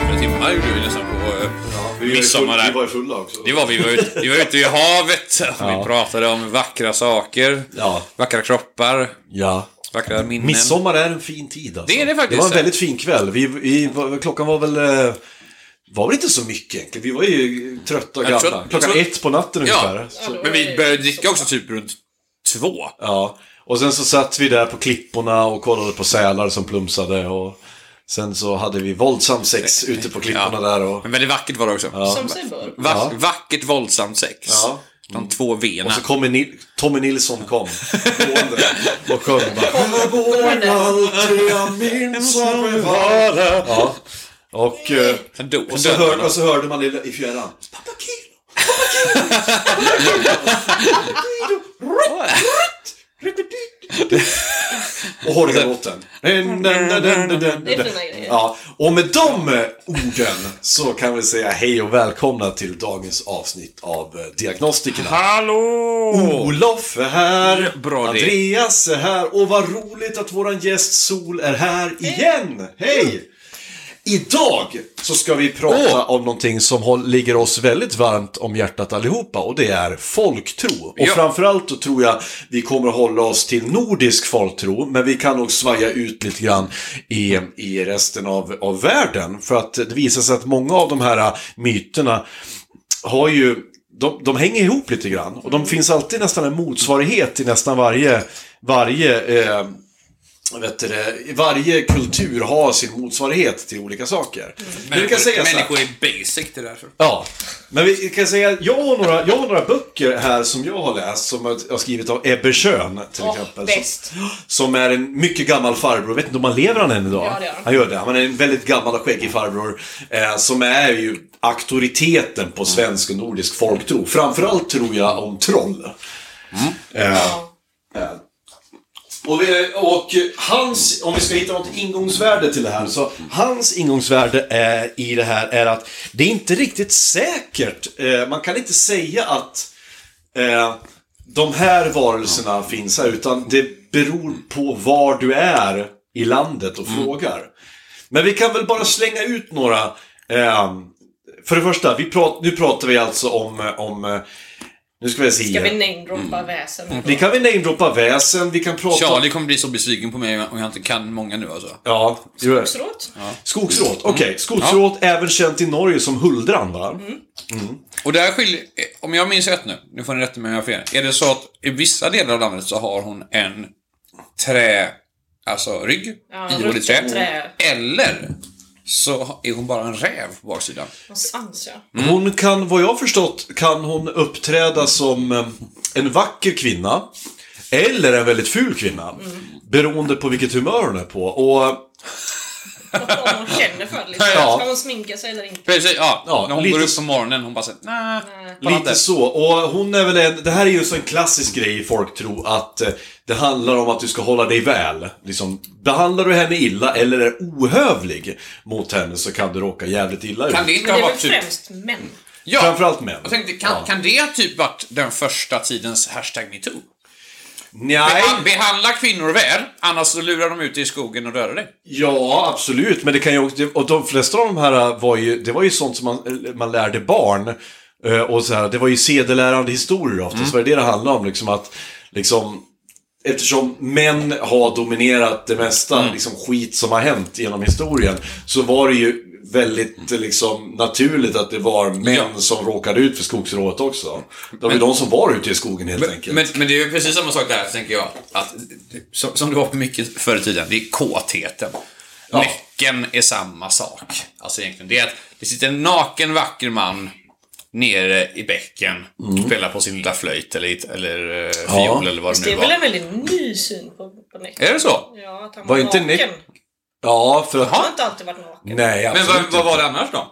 Fyra timmar gjorde vi nästan på eh, Vi, midsommar vi där. var ju fulla också. Det var vi, vi var ute, vi var ute i havet. Vi Ja. pratade om vackra saker. Ja. Vackra kroppar. Ja. Vackra minnen. Midsommar är en fin tid alltså. Det är det faktiskt. Det var en väldigt fin kväll. Vi, vi, var- klockan var väl... eh, Var väl inte så mycket egentligen. Vi var ju trötta Jag och gamla. tror- jag klockan tror- ett på natten Ja, ungefär. Så, men vi började dricka också typ runt två. ja. Och sen så satt vi där på klipporna och kollade på sälar som plumsade och... Sen så hade vi våldsam sex ute på klipporna där och... Men väldigt vackert var det också. Som sig bör. Va Ja. Vackert våldsamt sex. Ja. De två V'na. Och så kom en Nil- Tommy Nilsson kom. gående och sjöng bara... gående. Alltid jag minns att vi var där. Ja. Och... eh, Sen dog Och så, sen dog hör, de. och så hörde man i, i fjärran. Pappa Kilo! Och Hårgalotten. Det är fina grejer. Ja, och med de eh, orden så kan vi säga hej och välkomna till dagens avsnitt av eh, Diagnostikerna. Oh, Hallå! Olof är här, Bra det. Andreas är här och vad roligt att våran gäst Sol är här igen! Hej! Idag så ska vi prata om någonting som håll- ligger oss väldigt varmt om hjärtat allihopa och det är folktro. Och Ja. framförallt då tror jag vi kommer att hålla oss till nordisk folktro, men vi kan nog svaja ut lite grann i, i resten av, av världen. För att det visar sig att många av de här äh, myterna har ju, de, de hänger ihop lite grann. Och Mm. de finns alltid nästan en motsvarighet i nästan varje, varje eh, vet du, det, varje kultur har sin motsvarighet till olika saker. Men vi kan säga så här, Mm. Människor är basic, det är därför. Ja, men vi kan säga att jag har några, jag har några böcker här som jag har läst som jag har skrivit av Ebbe Schön till Åh, exempel. bäst. Som, som är en mycket gammal farbror, vet inte om han lever han än idag? Ja, det gör han. han gör det. Han är en väldigt gammal och skäggig farbror eh, som är ju auktoriteten på svensk och nordisk folktro. Framförallt tror jag om troll. Mm. Eh, och, vi, och hans, om vi ska hitta något ingångsvärde till det här, så hans ingångsvärde är, i det här är att det är inte riktigt säkert. Eh, man kan inte säga att eh, de här varelserna finns här, utan det beror på var du är i landet och Mm. frågar. Men vi kan väl bara slänga ut några. Eh, för det första, vi prat, nu pratar vi alltså om, eh, om eh, nu ska vi se. Ska vi namedroppa väsen? Vi Mm. kan väl namedroppa väsen, vi kan prata... Charlie kommer bli så besviken på mig om jag inte kan många nu alltså. Ja, jo, ja. Absolut. skogsråt. Mm. Okej, skogsråt även känt i Norge som huldran va? Och där skiljer, om jag minns rätt nu, nu får ni rätta mig om jag har fel. Är det så att i vissa delar av landet så har hon en trä, alltså rygg, Ja, ihålig rutten trä. trä. Eller så är hon bara en räv på baksidan. Och Svans ja. Mm. Hon kan, vad jag har förstått, kan hon uppträda som eh, en vacker kvinna. Eller en väldigt ful kvinna. Mm. Beroende på vilket humör hon är på. Och eh, Och Om hon känner för det liksom. Ja. Ska hon sminka sig eller inte? Precis, ja. Ja, när hon lite går upp så- på morgonen, hon bara säger nah, pallar inte." Lite så. Och hon är väl en, det här är ju så en klassisk grej i folktro att eh, det handlar om att du ska hålla dig väl. Liksom, behandlar du henne illa eller är ohövlig mot henne så kan du råka jävligt illa ut. Kan det Men inte det ha är väl varit typ... främst män? Ja, Framförallt män. Jag tänkte, kan, Ja. kan det ha typ varit den första tidens hashtag metoo? Nej, Beha- Behandla kvinnor väl, annars så lurar de ut dig i skogen och dödar dig. ja absolut. Men det kan ju också, och de flesta av de här äh, var ju, det var ju sånt som man, äh, man lärde barn. Eh, Och så här, det var ju sedelärande historier oftast. Mm. Vad är det det handlar om? Liksom att, liksom, Eftersom Mm. män har dominerat det mesta liksom, skit som har hänt genom historien så var det ju väldigt eh, liksom, naturligt att det var män Ja. som råkade ut för skogsrået också. Det var ju de som var ute i skogen helt enkelt. Men, men det är ju precis samma sak där, tänker jag. Att, som, som det var på mycket förr i tiden, det är kåtheten. Näcken är samma sak. Alltså egentligen, det är att det sitter en naken vacker man nere i bäcken och spelar på sin lilla flöjt eller, eller eh, Mm. Ja. fiol eller vad det nu Det är väl var. en väldigt ny syn på, på Nick? Är det så? Ja, att han Var var, inte naken. Nick- Ja, för att... Han har inte alltid varit naken. Nej, Men absolut vad, inte. vad var det annars då?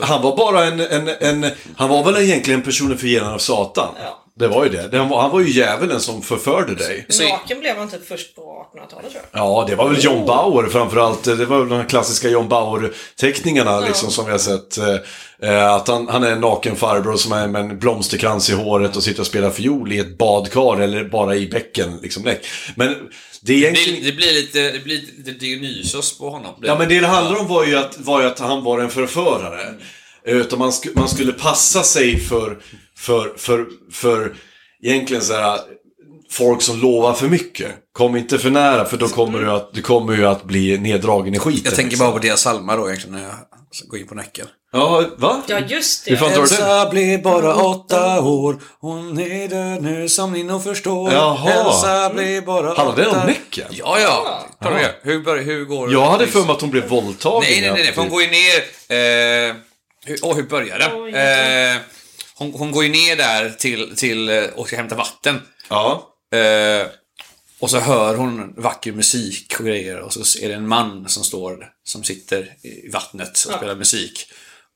Han var bara en, en, en... Han var väl egentligen personifierad av Satan? Ja. Det var ju det. Den var, han var ju djävulen som förförde dig. Så- Naken blev han typ först på 1800-talet tror jag. Ja, det var väl John Bauer framförallt. Det var väl de här klassiska John Bauer-teckningarna liksom, som vi har sett. Eh, Att han, han är en naken farbror som är med en blomsterkrans i håret och sitter och spelar fiol i ett badkar eller bara i bäcken. Liksom. Nej. Men det är egentligen... Det, det blir lite, det blir lite Dionysos på honom. Ja, men det det handlar om var ju att, var ju att han var en förförare. Eh, Utan man, sku, man skulle passa sig för, för, för, för egentligen så här, folk som lovar för mycket. Kom inte för nära för då kommer du, att, du kommer ju att bli neddragen i skiten. Jag tänker liksom. bara på deras salma då egentligen när jag går in på näcken. Ja, va? Ja, just det. Hur fan drar du den? Elsa blev bara åtta år. Hon är död nu som ni nog förstår. Jaha. Elsa blev bara åtta... Handlade det om Näcken? Ja, ja. Tar du det? Hur, bör, hur går... Jag hade för mig att hon blev våldtagen. Nej, nej, nej, nej. för Hon går ju ner... Eh, hur, åh, hur börjar Oj, det? Eh, hon, hon går ju ner där till, till eh, och ska hämta vatten. Ja. Eh, och så hör hon vacker musik och grejer och så är det en man som står, som sitter i vattnet och spelar musik.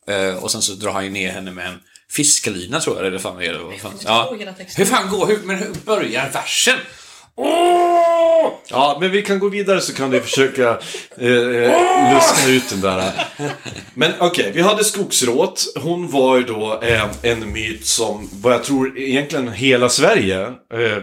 Eh, och sen så drar han ju ner henne med en fiskelina tror jag det fan är. Vad fan. inte Ja. ihåg hela texten. Hur fan går, hur, men hur börjar versen? Åh! ja, men vi kan gå vidare så kan du försöka eh, eh, luska ut den där. Men okej, vi hade skogsråt. Hon var ju då eh, en myt som, vad jag tror egentligen hela Sverige eh,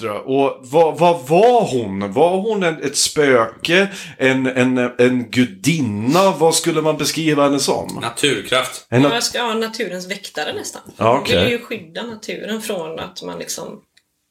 dra- och vad, vad var hon? Var hon en, ett spöke? En, en, en gudinna? Vad skulle man beskriva henne som? Naturkraft. En, Ja, jag ska ha naturens väktare nästan. Ja, okej. Det vill ju skydda naturen från att man liksom...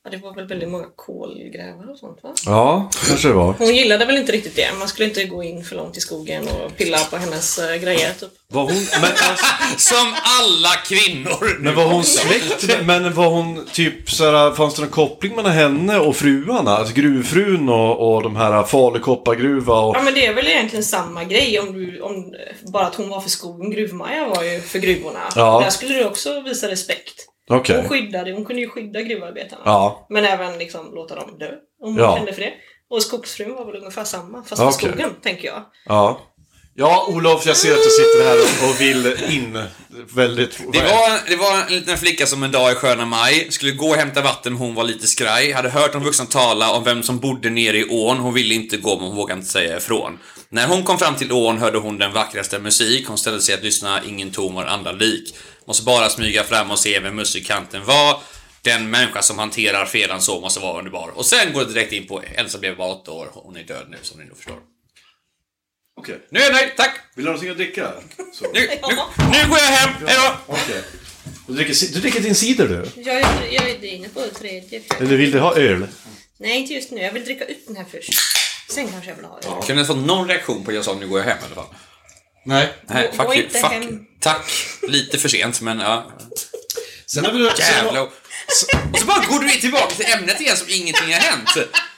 Ja, det var väl väldigt många kolgrävare och sånt va? ja, kanske det var. Hon gillade väl inte riktigt det. Man skulle inte gå in för långt i skogen och pilla på hennes eh, grejer typ. Var hon, men, alltså, Som alla kvinnor nu. Men var hon släkt med- Men var hon typ såhär, fanns det någon koppling mellan henne och fruarna? Alltså gruvfrun och, och de här Falukoppargruva och... Ja men det är väl egentligen samma grej om du, om, bara att hon var för skogen. Gruvmaja var ju för gruvorna. Ja. Där skulle du också visa respekt. Okej. Hon skyddade, hon kunde ju skydda gruvarbetarna. Ja. Men även liksom låta dem dö om hon Ja. kände för det. Och skogsfrun var väl ungefär samma, fast Okej. för skogen tänker jag. Ja. Ja, Olof, jag ser att du sitter här och- och vill in väldigt... Det var, en- det var en liten flicka som en dag i sköna maj skulle gå och hämta vatten, hon var lite skraj. Hade hört de vuxna tala om vem som bodde nere i ån. Hon ville inte gå, men hon vågade inte säga ifrån. När hon kom fram till ån hörde hon den vackraste musik. Hon ställde sig att lyssna, ingen ton var andra lik. Måste bara smyga fram och se vem musikanten var. Den människa som hanterar felan så måste vara underbar. Och sen går det direkt in på Elsa blev bara åtta år, hon är död nu som ni nog förstår. Okej. Nu är jag nöjd, tack! Vill du ha någonting att dricka? Så. Nu, nu, nu går jag hem, hejdå! Okej. Du dricker, ci- du dricker din cider du? Jag är, jag är inne på tredje. Eller vill du ha öl? Nej, inte just nu. Jag vill dricka ut den här först. Sen kanske jag vill ha det. Kunde jag få någon reaktion på att jag sa nu går jag hem i alla fall? Nej. Nej, Gå- fuck gå you. inte Fuck hem. you. Tack. Lite för sent, men ja. Sen har vi... Jävlar. Och så bara går du tillbaka till ämnet igen som ingenting har hänt.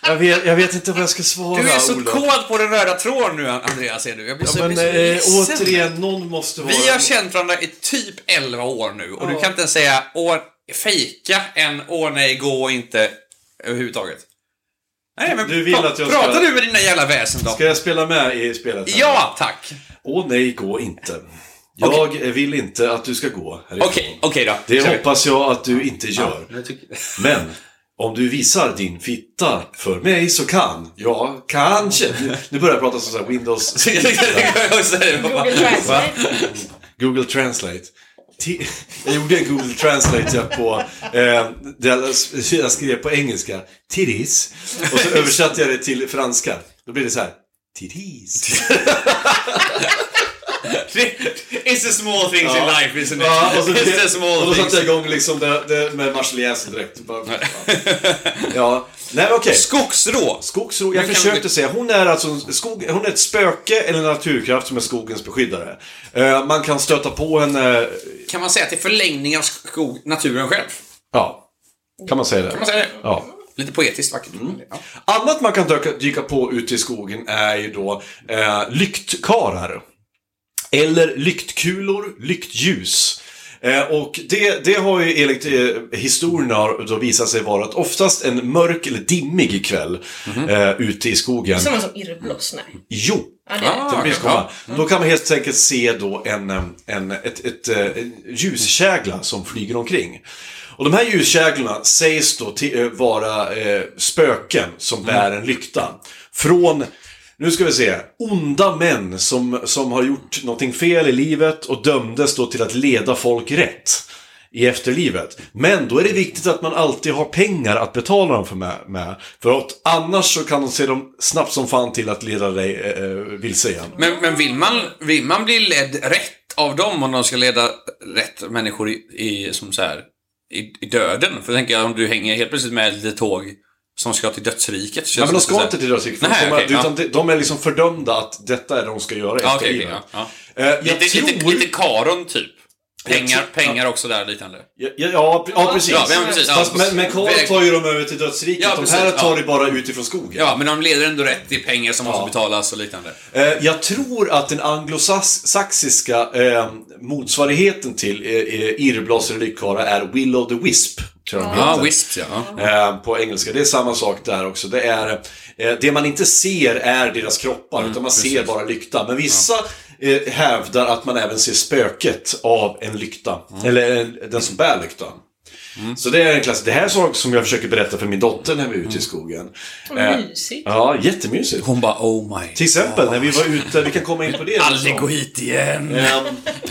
Jag vet, jag vet inte vad jag ska svara, Du är så Olof. kåt på den röda tråden nu, Andreas, är du. Jag blir så, Ja, men jag blir eh, så ledsen. återigen, någon måste vara... Vi har känt varandra i typ 11 år nu och du kan inte ens säga åh, fejka en åh nej, gå inte överhuvudtaget. Nej, men Du vill pra- att jag ska- pratar du med dina jävla väsen då? Ska jag spela med i spelet? här? Ja, tack. Åh nej, gå inte. Jag vill inte att du ska gå härifrån. Okej, okej då. Det Kör vi. hoppas jag att du inte gör. Jag tycker- Men om du visar din fitta för mig så kan jag kanske... Nu börjar jag prata som så här Windows... Jag säger bara- Google Translate. Google Translate. Ti- Jag gjorde en Google Translate jag på, eh, där jag- jag skrev på engelska, titties, och så översatte jag det till franska. Då blev det så här, titties. It's the small things in life, isn't it? Ja, och, så, It's the och small då satte things. jag igång liksom det, det med marseljäsen direkt. Bara, ja. Nej, men okej. Skogsrå. Skogsro, jag Men kan försökte vi- säga, hon är alltså en skog, hon är ett spöke eller en naturkraft som är skogens beskyddare. Eh, man kan stöta på henne, eh, Kan man säga att det är förlängning av skog, naturen själv? ja, kan man säga det? Kan man säga det? Ja. Mm. Lite poetiskt vackert. Ja. Annat man kan dyka, dyka på ute i skogen är ju då eh, lyktkarar. Eller lyktkulor, lyktljus. Eh, och det, det har ju enligt eh, historierna har då visat sig vara att oftast en mörk eller dimmig kväll eh, ute i skogen. Samma som irrbloss, nej. Jo, Ja, det är Ah. det. det finns okej, komma. Då kan man helt enkelt se då en, eh, en, ett, ett, eh, en ljuskägla som flyger omkring. Och de här ljuskäglorna sägs då till, eh, vara eh, spöken som bär en lykta. Från, nu ska vi se, onda män som, som har gjort någonting fel i livet och dömdes då till att leda folk rätt i efterlivet. Men då är det viktigt att man alltid har pengar att betala dem för med. med. För att annars så kan de se dem snabbt som fan till att leda dig eh, eh, vilse igen. Men, men vill, man, vill man bli ledd rätt av dem om de ska leda rätt människor i, i, som så här, i, i döden? För jag tänker jag om du hänger helt plötsligt med ett litet tåg som ska till dödsriket. så Ja, men de känns det ska så här- inte till dödsriket. för Nej, de, är- okej, ja. utan de- de är liksom fördömda att detta är det de ska göra i Ja, okej, okej, efterlivet. ja, Eh, jag ja. Lite, lite, tror- lite karon, typ. Pengar, tror- pengar också där, liknande. Ja, ja, ja, pre- ja, precis. Ja, men precis, ja. Fast, men, men Karl Väg- tar ju dem över till dödsriket. Ja, de här precis, tar ja. det bara utifrån skogen. Ja, men de leder ändå rätt till pengar som måste Ja. betalas och liknande. Eh, jag tror att den anglosaxiska eh, motsvarigheten till eh, eh, irrblasare och lyckkara är Will of the Wisp. Tror jag de Ja, heter. Wisps, ja. ja. Eh, på engelska. Det är samma sak där också. Det, är, eh, det man inte ser är deras kroppar, Mm, utan man ser bara lykta. Men vissa eh, hävdar att man även ser spöket av en lykta, Mm. eller en, den som bär lyktan. Så det är en klass. Det här är saker som jag försöker berätta för min dotter när vi är ute Mm. i skogen. Vad Eh, mysigt. Ja, jättemysigt. Hon bara oh my. Till exempel när vi var ute, vi kan komma in på det. Aldrig gå hit igen. Ehm,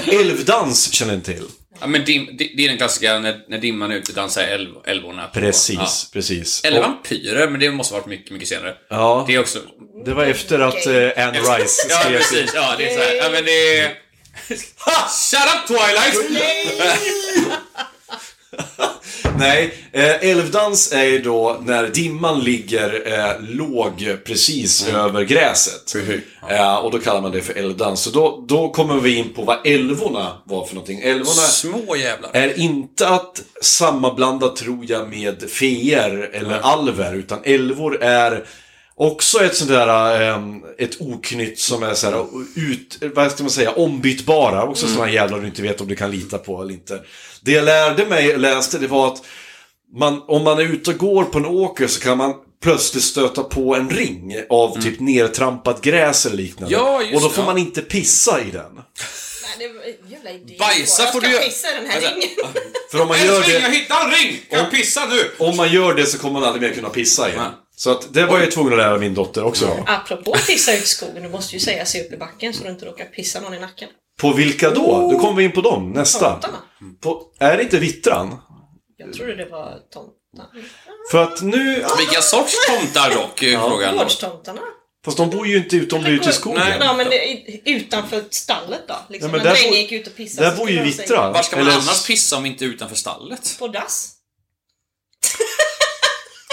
Älvdans känner ni till. Ja, men dim, di- det är den klassiska när, när dimman är ute dansar älv, älvorna. på- Precis, Ja. precis. Eller Och- vampyrer, men det måste ha varit mycket, mycket senare. Ja, Det är också... det var efter att eh, Anne Rice Ja, skrev sin precis. Ja, det är så här. Ja, men det är... Ha! Shut up Twilight! Nej, eh, älvdans är ju då när dimman ligger eh, låg precis över gräset. Precis. Eh, och då kallar man det för älvdans. Så då, då kommer vi in på vad älvorna var för någonting. Älvorna Små jävlar. är inte att sammanblanda, tror jag, med feer eller alver, utan älvor är Också ett sånt där, eh, ett oknytt som är så här, ut, vad ska man säga, ombytbara. Också Mm. såna sådana jävlar du inte vet om du kan lita på eller inte. Det jag lärde mig, läste, det var att man, om man är ute och går på en åker så kan man plötsligt stöta på en ring av typ nertrampat gräs eller liknande. Mm. Ja, just och då det, får ja. man inte pissa i den. Nej, det var en jävla idé. Bajsa får du Jag göra. ska pissa i den här Alltså, ringen. För om man gör Älskling, det... jag hittade en ring! Kan jag pissa nu? Om man gör det så kommer man aldrig mer kunna pissa igen. Nej. Så att det var jag ju tvungen att lära min dotter också. Apropå att pissa ut i skogen, du måste ju säga se upp i backen så du inte råkar pissa någon i nacken. På vilka då? Då kommer vi in på dem, nästa. Tomtarna. På, är det inte vittran? Jag trodde det var tomtarna. För att nu... Vilka sorts tomtar dock? är Frågan. Gårdstomtarna. Fast de bor ju inte utom ute i skogen. Nej. Ja, men det, i- utanför stallet då. Liksom. Ja, men en där dränge bor- gick ut och pissade. Där så bor skulle ju han säga, vittran. Var ska man Eller- annars pissa om inte utanför stallet? På dass.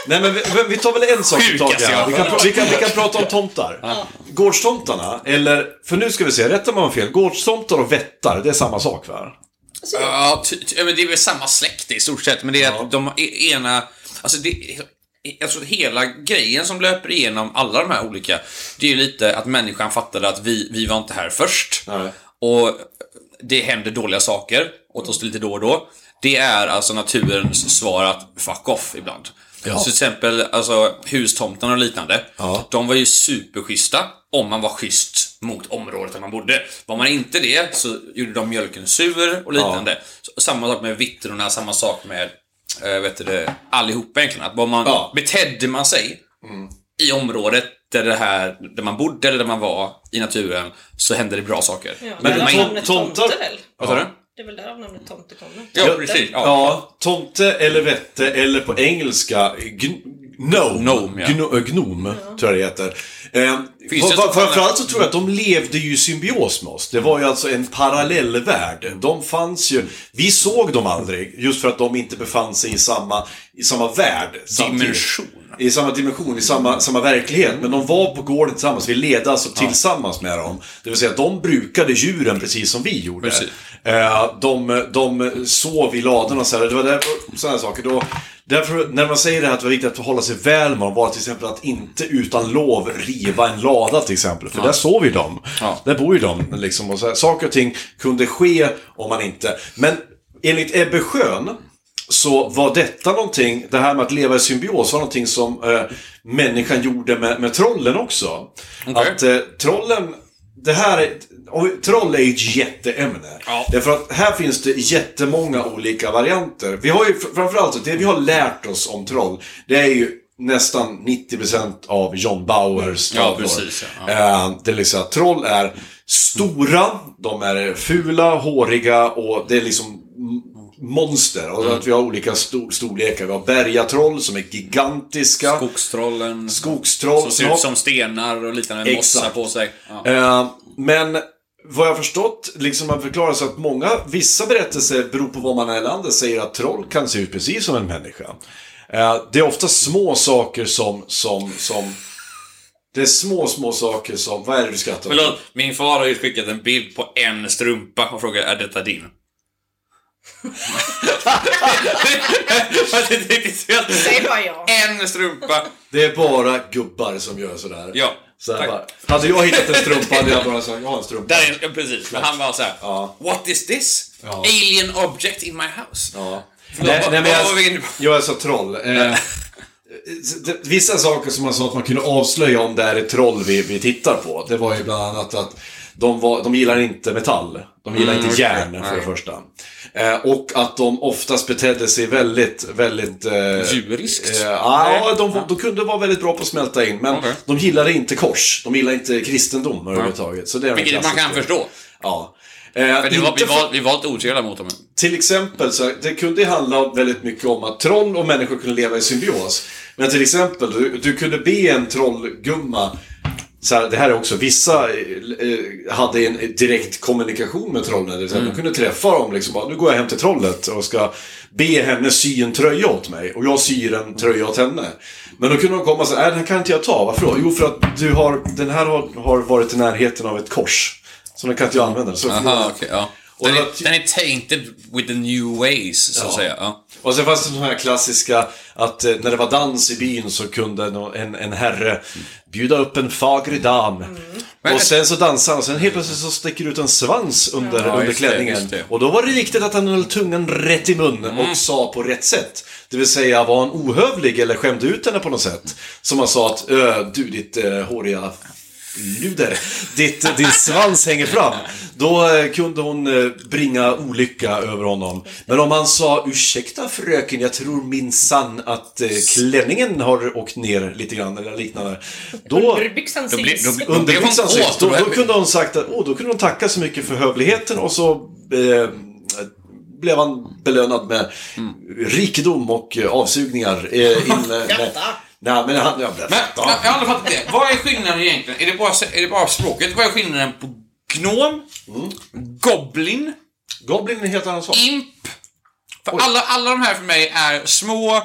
Nej men vi, vi tar väl en sak i taget. Sjukaste jag här. Vi kan, pr- vi, kan, vi kan prata om tomtar. Gårdstomtarna, eller... För nu ska vi se, rätta mig om jag har fel. Gårdstomtar och vättar, det är samma sak va? Alltså, Ja, ty, ty, ja, men det är väl samma släkt i stort sett, men det är att de e- ena... Alltså, det, jag tror att hela grejen som löper igenom alla de här olika, det är ju lite att människan fattade att vi, vi var inte här först. Nej. Och det händer dåliga saker åt oss lite då och då. Det är alltså naturens svar att fuck off ibland. Så till exempel alltså, hustomtarna och liknande. Ja. De var ju superschyssta om man var schysst mot området där man bodde. Var man inte det så gjorde de mjölken sur och liknande. Så, samma sak med vittrorna, samma sak med eh, vet du, det, allihopa egentligen. Att var man, Ja. Betedde man sig i området där, det här, där man bodde eller där man var i naturen så hände det bra saker. ja, men alltså- men därav tom- namnet tomte tomtar- väl? Vad sa du? Det är väl därav namnet tomte kommer? Ja, Tomte. precis. Ja. Ja, tomte eller vette eller på engelska gn- gnome. Gnome, ja. Gno- äh, gnom, tror jag det heter. Eh, Finns fa- det- fa- framförallt så tror jag att de levde ju i symbios med oss. Det var ju alltså en parallellvärld. De fanns ju, vi såg dem aldrig, just för att de inte befann sig i samma, i samma värld. samtidigt. Dimension. Mm. I samma dimension, i samma, samma verklighet. Men de var på gården tillsammans, vi ledde alltså tillsammans med dem. Det vill säga, de brukade djuren precis som vi gjorde. Precis. Eh, De, de sov i ladorna och så här. Det var där, sådana saker. Då, därför, när man säger det här att det var viktigt att hålla sig väl med dem, var till exempel att inte utan lov riva en lada till exempel. För där sov ju de. Ja. Där bor ju de. Liksom, och så här, saker och ting kunde ske om man inte... Men enligt Ebbe Schön så var detta någonting, det här med att leva i symbios, var någonting som eh, människan gjorde med, med trollen också. Okej. Att eh, trollen, det här är, och troll är ju ett jätteämne. Ja. Därför att här finns det jättemånga olika varianter. Vi har ju fr- framförallt, så det vi har lärt oss om troll, det är ju nästan 90% av John Bauers Ja, tavlor. precis, ja. Eh, Det är liksom att troll är stora, de är fula, håriga och det är liksom m- monster. Och att vi har olika stor, storlekar. Vi har bergatroll som är gigantiska. Skogstrollen. skogstroll. Som Sen ser har- ut som stenar och liknande. med Exakt. Mossa på sig. Ja. Eh, men vad jag har förstått, liksom man förklarar så att många, vissa berättelser, beror på var man är i landet, säger att troll kan se ut precis som en människa. Eh, det är ofta små saker som, som, som... Det är små, små saker som... Vad är det du skrattar åt? Förlåt, min far har ju skickat en bild på en strumpa och frågar är detta din? Jag vet inte riktigt hur jag- Säg bara ja. en strumpa! Det är bara gubbar som gör sådär. Ja, Så här tack. bara, hade jag hittat en strumpa hade jag bara sagt, jag har en strumpa. Där är, ja, precis, men han var såhär Ja. What is this? Ja. Alien object in my house? Ja. Förlåt, vad- vad var vi inne på? jag är så troll. Eh, det- vissa saker som man sa att man kunde avslöja om det är ett troll vi, vi tittar på, det var ju bland annat att de, var, de gillar inte metall. De gillar Mm, inte järn, för det första. Eh, och att de oftast betedde sig väldigt, väldigt... Eh, Djuriskt? Eh, ja, de, var- de kunde vara väldigt bra på att smälta in, men Okej. de gillade inte kors. De gillade inte kristendom överhuvudtaget. Så det är en Vilket man kan klassiker. förstå. Ja. Eh, För det var, vi, inte för- var, vi var inte otrevliga mot dem. till exempel, så det kunde ju handla väldigt mycket om att troll och människor kunde leva i symbios. Men till exempel, du, du kunde be en trollgumma så här, det här är också, vissa eh, eh, hade en direkt kommunikation med trollen. Det vill säga, De kunde träffa dem liksom, bara, nu går jag hem till trollet och ska be henne sy en tröja åt mig. Och jag syr en tröja åt henne. Men då kunde de komma och säga, nej den här kan inte jag ta, varför då? Jo, för att du har, den här har, har varit i närheten av ett kors. Så den kan inte jag använda. Så Aha, okej, ja. Och Den det är, var- den är tainted with the new ways, så att Ja. säga. Ja. Och sen fanns det de här klassiska att eh, när det var dans i byn så kunde nå- en, en herre bjuda upp en fager dam. Mm. Och sen så dansar han och sen helt plötsligt så sticker det ut en svans under, Ja, under just det, klänningen. just det. Och då var det viktigt att han höll tungan rätt i mun och sa på rätt sätt. Det vill säga, var han ohövlig eller skämde ut henne på något sätt? Som han sa att, "Ö, du ditt eh, håriga luder, ditt, din svans hänger fram. Då eh, kunde hon eh, bringa olycka över honom. Men om han sa, ursäkta fröken, jag tror minsann att eh, klänningen har åkt ner lite grann eller liknande. Då, Underbyxan Då blir- då syns. blir- under blev hon byxans kåt, syft. Då, då är då vi- kunde hon sagt att, åh, då kunde hon tacka så mycket för hövligheten och så eh, blev han belönad med Mm. rikedom och eh, avsugningar. Eh, in, nej, nej, men han... Ja, Men, ja. men jag har aldrig fattat det. Vad är skillnaden egentligen? Är det bara, är det bara språket? Vad är skillnaden på gnom, goblin, Goblin är en helt annan sak. imp? För alla, alla de här för mig är små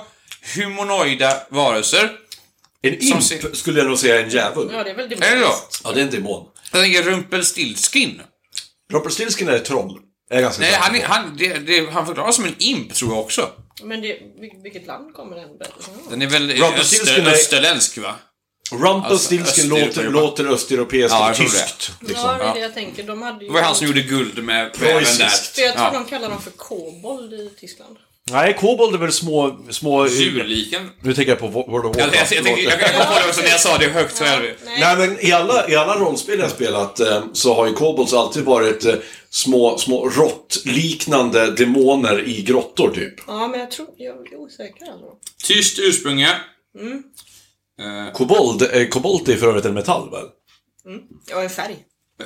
humanoida varelser. En imp Mm. ser- skulle jag nog säga är en djävul. Ja, det är väl Är det då? demoniskt. Ja, det är en demon. Jag tänker Rumpelstiltskin. Rumpelstiltskin är ett troll. Jag är ganska Nej, säker han, är- på. han, det, det, han förklaras som en imp, tror jag också. Men det, vil- vilket land kommer den berättelsen ifrån? Den är väl Rumpelstiltskin öster, är- österländsk, va? Rumpelstiltskin Alltså, låter, Östeuropa. låter östeuropeiskt Ja, och jag tror tyskt. Ja, Liksom. det är det jag tänker. De hade ju... Det var han som gjorde guld med Preussiskt. även där. För jag tror Ja. de kallar dem för kobold i Tyskland. Nej, kobold är väl små... små Djurliken. nu tänker jag på World of Jag, jag, jag, Warcraft. jag, jag, jag, jag kom på det också när jag sa det högt själv. Nej men i alla, i alla rollspel jag spelat eh, så har ju kobolds alltid varit eh, små, små råttliknande demoner i grottor typ. Ja, men jag tror... Jag är osäker alltså. Tyst ursprung, ja. Kobold, eh, kobolt är för övrigt en metall väl? Ja, en färg.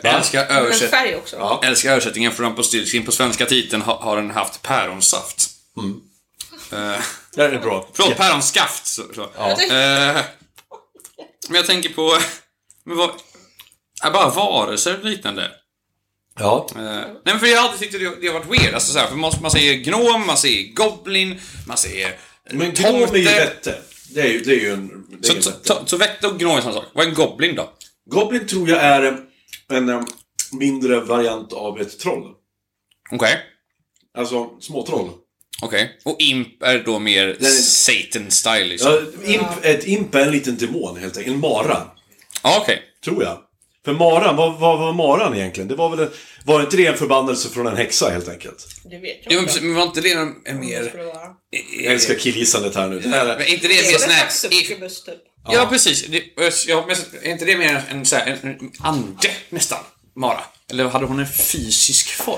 Jag älskar, Men översätt, färg också. Ja. jag älskar översättningen från Rumpelstiltskin. På svenska titeln har, har den haft päronsaft. Eh, Det är bra. Eh, förlåt, päronskaft. Så, så. Jag tänkte- Eh, men jag tänker på Men vad... Ja, bara varelser och liknande. Ja. Eh, nej men för jag har alltid tyckt att det, det har varit weird. Alltså så här, för man, man säger gnom, man säger goblin, man säger Men tomte. gnom är ju vette. Det är ju, det är ju en... Det är Så, ju så, vette. så, så vätte och gnom är samma sak. Vad är en goblin då? Goblin tror jag är en, en eh, mindre variant av ett troll. Okej. Alltså, småtroll. Okej. Och imp är då mer Nej. Satan-style liksom? Ja, Ja, Eh, imp, ett imp är en liten demon helt enkelt. En mara. okej. Tror jag. För maran, vad, vad var maran egentligen? Det var väl en, var inte det en förbannelse från en häxa helt enkelt? Det vet jag Jo, men inte. precis, men var inte det en, en Vad det mer... skulle vara. Jag älskar killgissandet här nu. Det här Eh, Men är, är inte det Det en mer är väl sån en här... hacksuckerbus typ. Ja, precis. Det, ja, men är inte det mer en, så här, en, en ande nästan? Mara? Eller hade hon en fysisk form?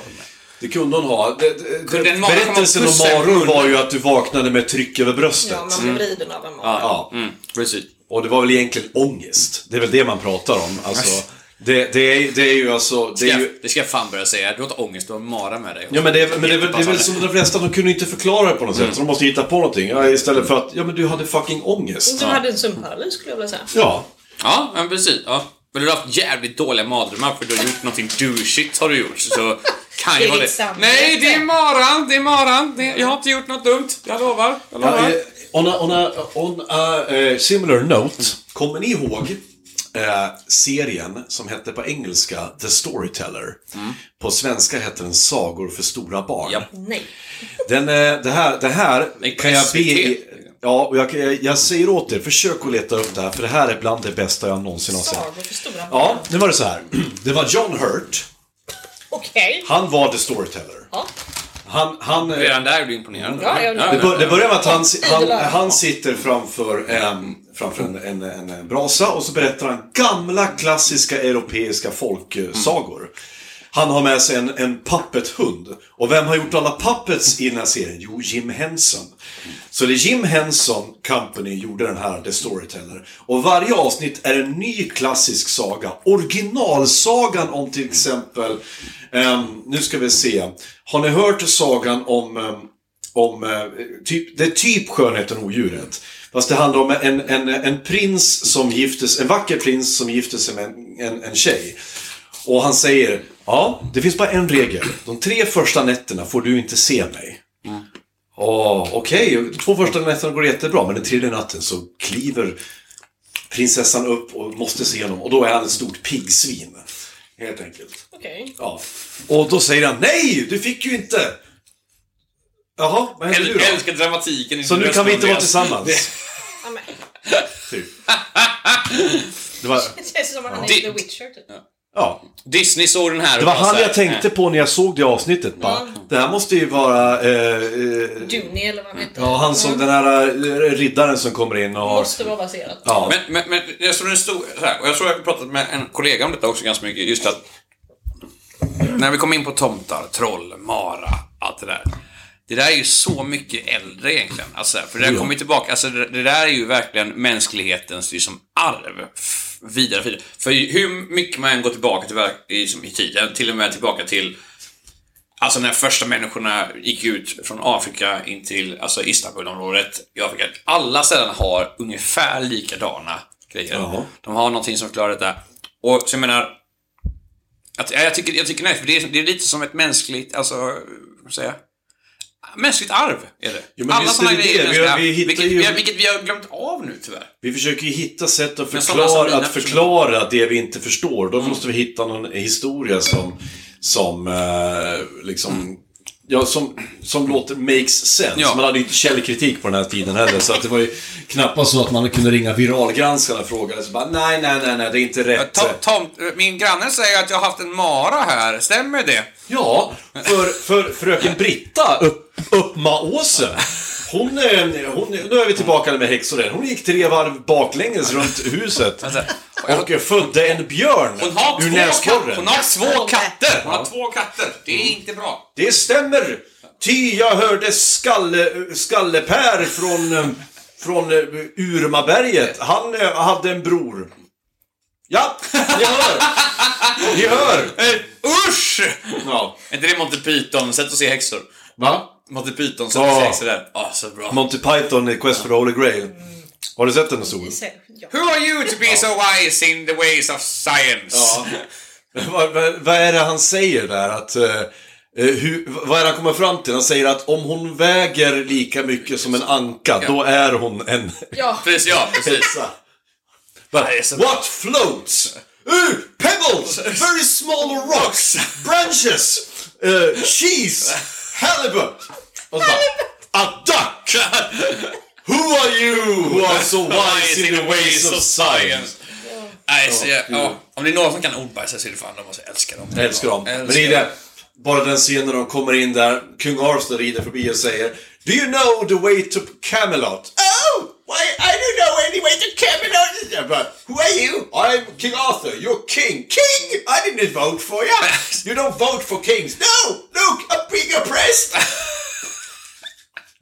det kunde hon ha. Det, det, Kunde en mara berättelsen komma om och pussa en maror hund? var ju att du vaknade med ett tryck över bröstet. Ja, man blir vriden av en mara. mm. Ja. Mm, precis. Och det var väl egentligen ångest. Det är väl det man pratar om. Alltså, det, det, är, det är ju alltså... Det Det, är ska, ju, jag- det ska jag fan börja säga. Du har inte ångest, du har mara med dig. Ja men det är, men det är, väl- det är väl som de flesta, de kunde inte förklara det på något Mm. sätt. Så de måste hitta på någonting. Ja, istället för att, ja men du hade fucking ångest. Du hade en sömnparalys skulle jag vilja säga. Ja. Ja, men precis. Ja. Men du har haft jävligt dåliga mardrömmar för du har gjort någonting douchigt har du gjort. Så kan Det ju är vara ditt det. samvete. Nej, det är maran! Det är maran! Det, jag har inte gjort något dumt. Jag lovar. Jag Ja, lovar. eh, on a, on a, on a eh, similar note, kommer ni ihåg eh, serien som hette på engelska The Storyteller? På svenska hette den Sagor för stora barn. Ja. Nej. Den, eh, det här, det här En kan jag be SVT. Ja, och jag, eh, jag, jag säger åt er, försök att leta upp det här, för det här är bland det bästa jag någonsin har sett. Sagor för stora barn. Ja, nu var det så här. Det var John Hurt. Okej. Han var The Storyteller. Ja. Han, han, eh, Redan där är du imponerad. Ja, jag- Det, bör, det ja. börjar med att han, si- han, Idlar. han sitter framför, en, framför en, en, en, en brasa och så berättar han gamla klassiska europeiska folksagor. Han har med sig en, en puppethund. Och vem har gjort alla puppets i den här serien? Jo, Jim Henson. Så det är Jim Henson Company gjorde den här The Storyteller. Och varje avsnitt är en ny klassisk saga. Originalsagan om till exempel, ehm, nu ska vi se. Har ni hört sagan om ehm, om, eh, typ, det är typ skönheten och odjuret. Fast det handlar om en, en, en prins som giftes, en vacker prins som gifte sig med en, en, en tjej. Och han säger, ja, det finns bara en regel. De tre första nätterna får du inte se mig. Åh, okej, två första nätterna går jättebra, men den tredje natten så kliver prinsessan upp och måste se honom och då är han ett stort piggsvin. Helt enkelt. Okej. Ja. Och då säger han nej, du fick ju inte! Jaha, vad hände nu Jag då? älskar dramatiken. i Så din nu röst, kan vi inte vara Andreas. tillsammans. Ja, men Typ. Det var, Det känns som att han är Det- The Witcher typ. ja. Disney såg den här det var han jag tänkte på när jag såg det avsnittet. Bara, det här måste ju vara... Eh, eh, Dooney eller vad han heter. Mm. ja, han som den här eh, riddaren som kommer in och har... Måste vara baserat. Ja. Men, men, men jag tror den stod, så här, och jag tror jag har pratat med en kollega om detta också ganska mycket, just att när vi kom in på tomtar, troll, mara, allt det där. Det där är ju så mycket äldre egentligen. Alltså, för det där Ja. kommer ju tillbaka, alltså, det, det där är ju verkligen mänsklighetens liksom, arv. F- Vidare, vidare. För hur mycket man än går tillbaka till, verk- i, som, i tiden, till och med tillbaka till Alltså när första människorna gick ut från Afrika in till alltså Istanbulområdet i Afrika. Alla ställen har ungefär likadana grejer. Ja. De har någonting som förklarar detta. Och så jag menar... Att, ja, jag tycker, jag tycker nej, för det är, det är lite som ett mänskligt, alltså... Vad säger jag? Mänskligt arv är det. Jo, men Alla visst sådana är det grejer är det. Vi mänskliga har- arv, vi hittar vilket, ju- vi har, vilket vi har glömt av nu tyvärr. Vi försöker ju hitta sätt att Men sådana som förklara, mina- att förklara det vi inte förstår. Då Mm. måste vi hitta någon historia som, som eh, liksom, ja, som, som låter makes sense. Ja. Man hade ju inte källkritik på den här tiden heller, så att det var ju knappast så att man kunde ringa viralgranskarna och fråga. Så bara, nej, nej, nej, nej, det är inte rätt. Tom, Tom, min granne säger att jag har haft en mara här, stämmer det? Ja, för, för fröken Britta upp, Uppmaåsen. Hon, eh, hon, nu är vi tillbaka med häxor igen. Hon gick tre varv baklänges runt huset och eh, födde en björn Alltså, Hon har, ur två, katt, hon näsborren. har två katter! Hon har två katter. Det är inte bra. Det stämmer! Ty jag hörde skalle, Skallepär från, eh, från eh, Urmaberget. Han eh, hade en bror. Ja, ni hör! Ni hör! Usch! Ja. Är inte det Monty Python? Sätt att se häxor. Va? Monty Python, sätt att se Ja. häxor där. Ja, så bra. Monty Python i Quest for the Holy Grail. Har du sett den Sol? Ja. Who are you to be so wise in the ways of science? Ja. vad, vad, vad är det han säger där? Att, eh, eh, hur, vad är det han kommer fram till? Han säger att om hon väger lika mycket som en anka, då är hon en ja. Precis, ja, precis. häxa. But det är så bra. what floats? Uh, pebbles! Very small rocks! Branches! eh, cheese! Halibut! Och så bara, a duck! Who are you who are so wise in the ways of science? Nej, så jag, ja. Om det är någon som kan ordbajsa så är det fan de måste älska dem. Jag älskar dem. Men det är det, bara den scenen när de kommer in där, kung Arthur rider förbi och säger Do you know the way to Camelot? Oh! Why, I don't know any way to Camelot! Jag bara, Who are you? I'm King Arthur, you're king. King! I didn't vote for you! You don't vote for kings! No! Look, I'm being oppressed!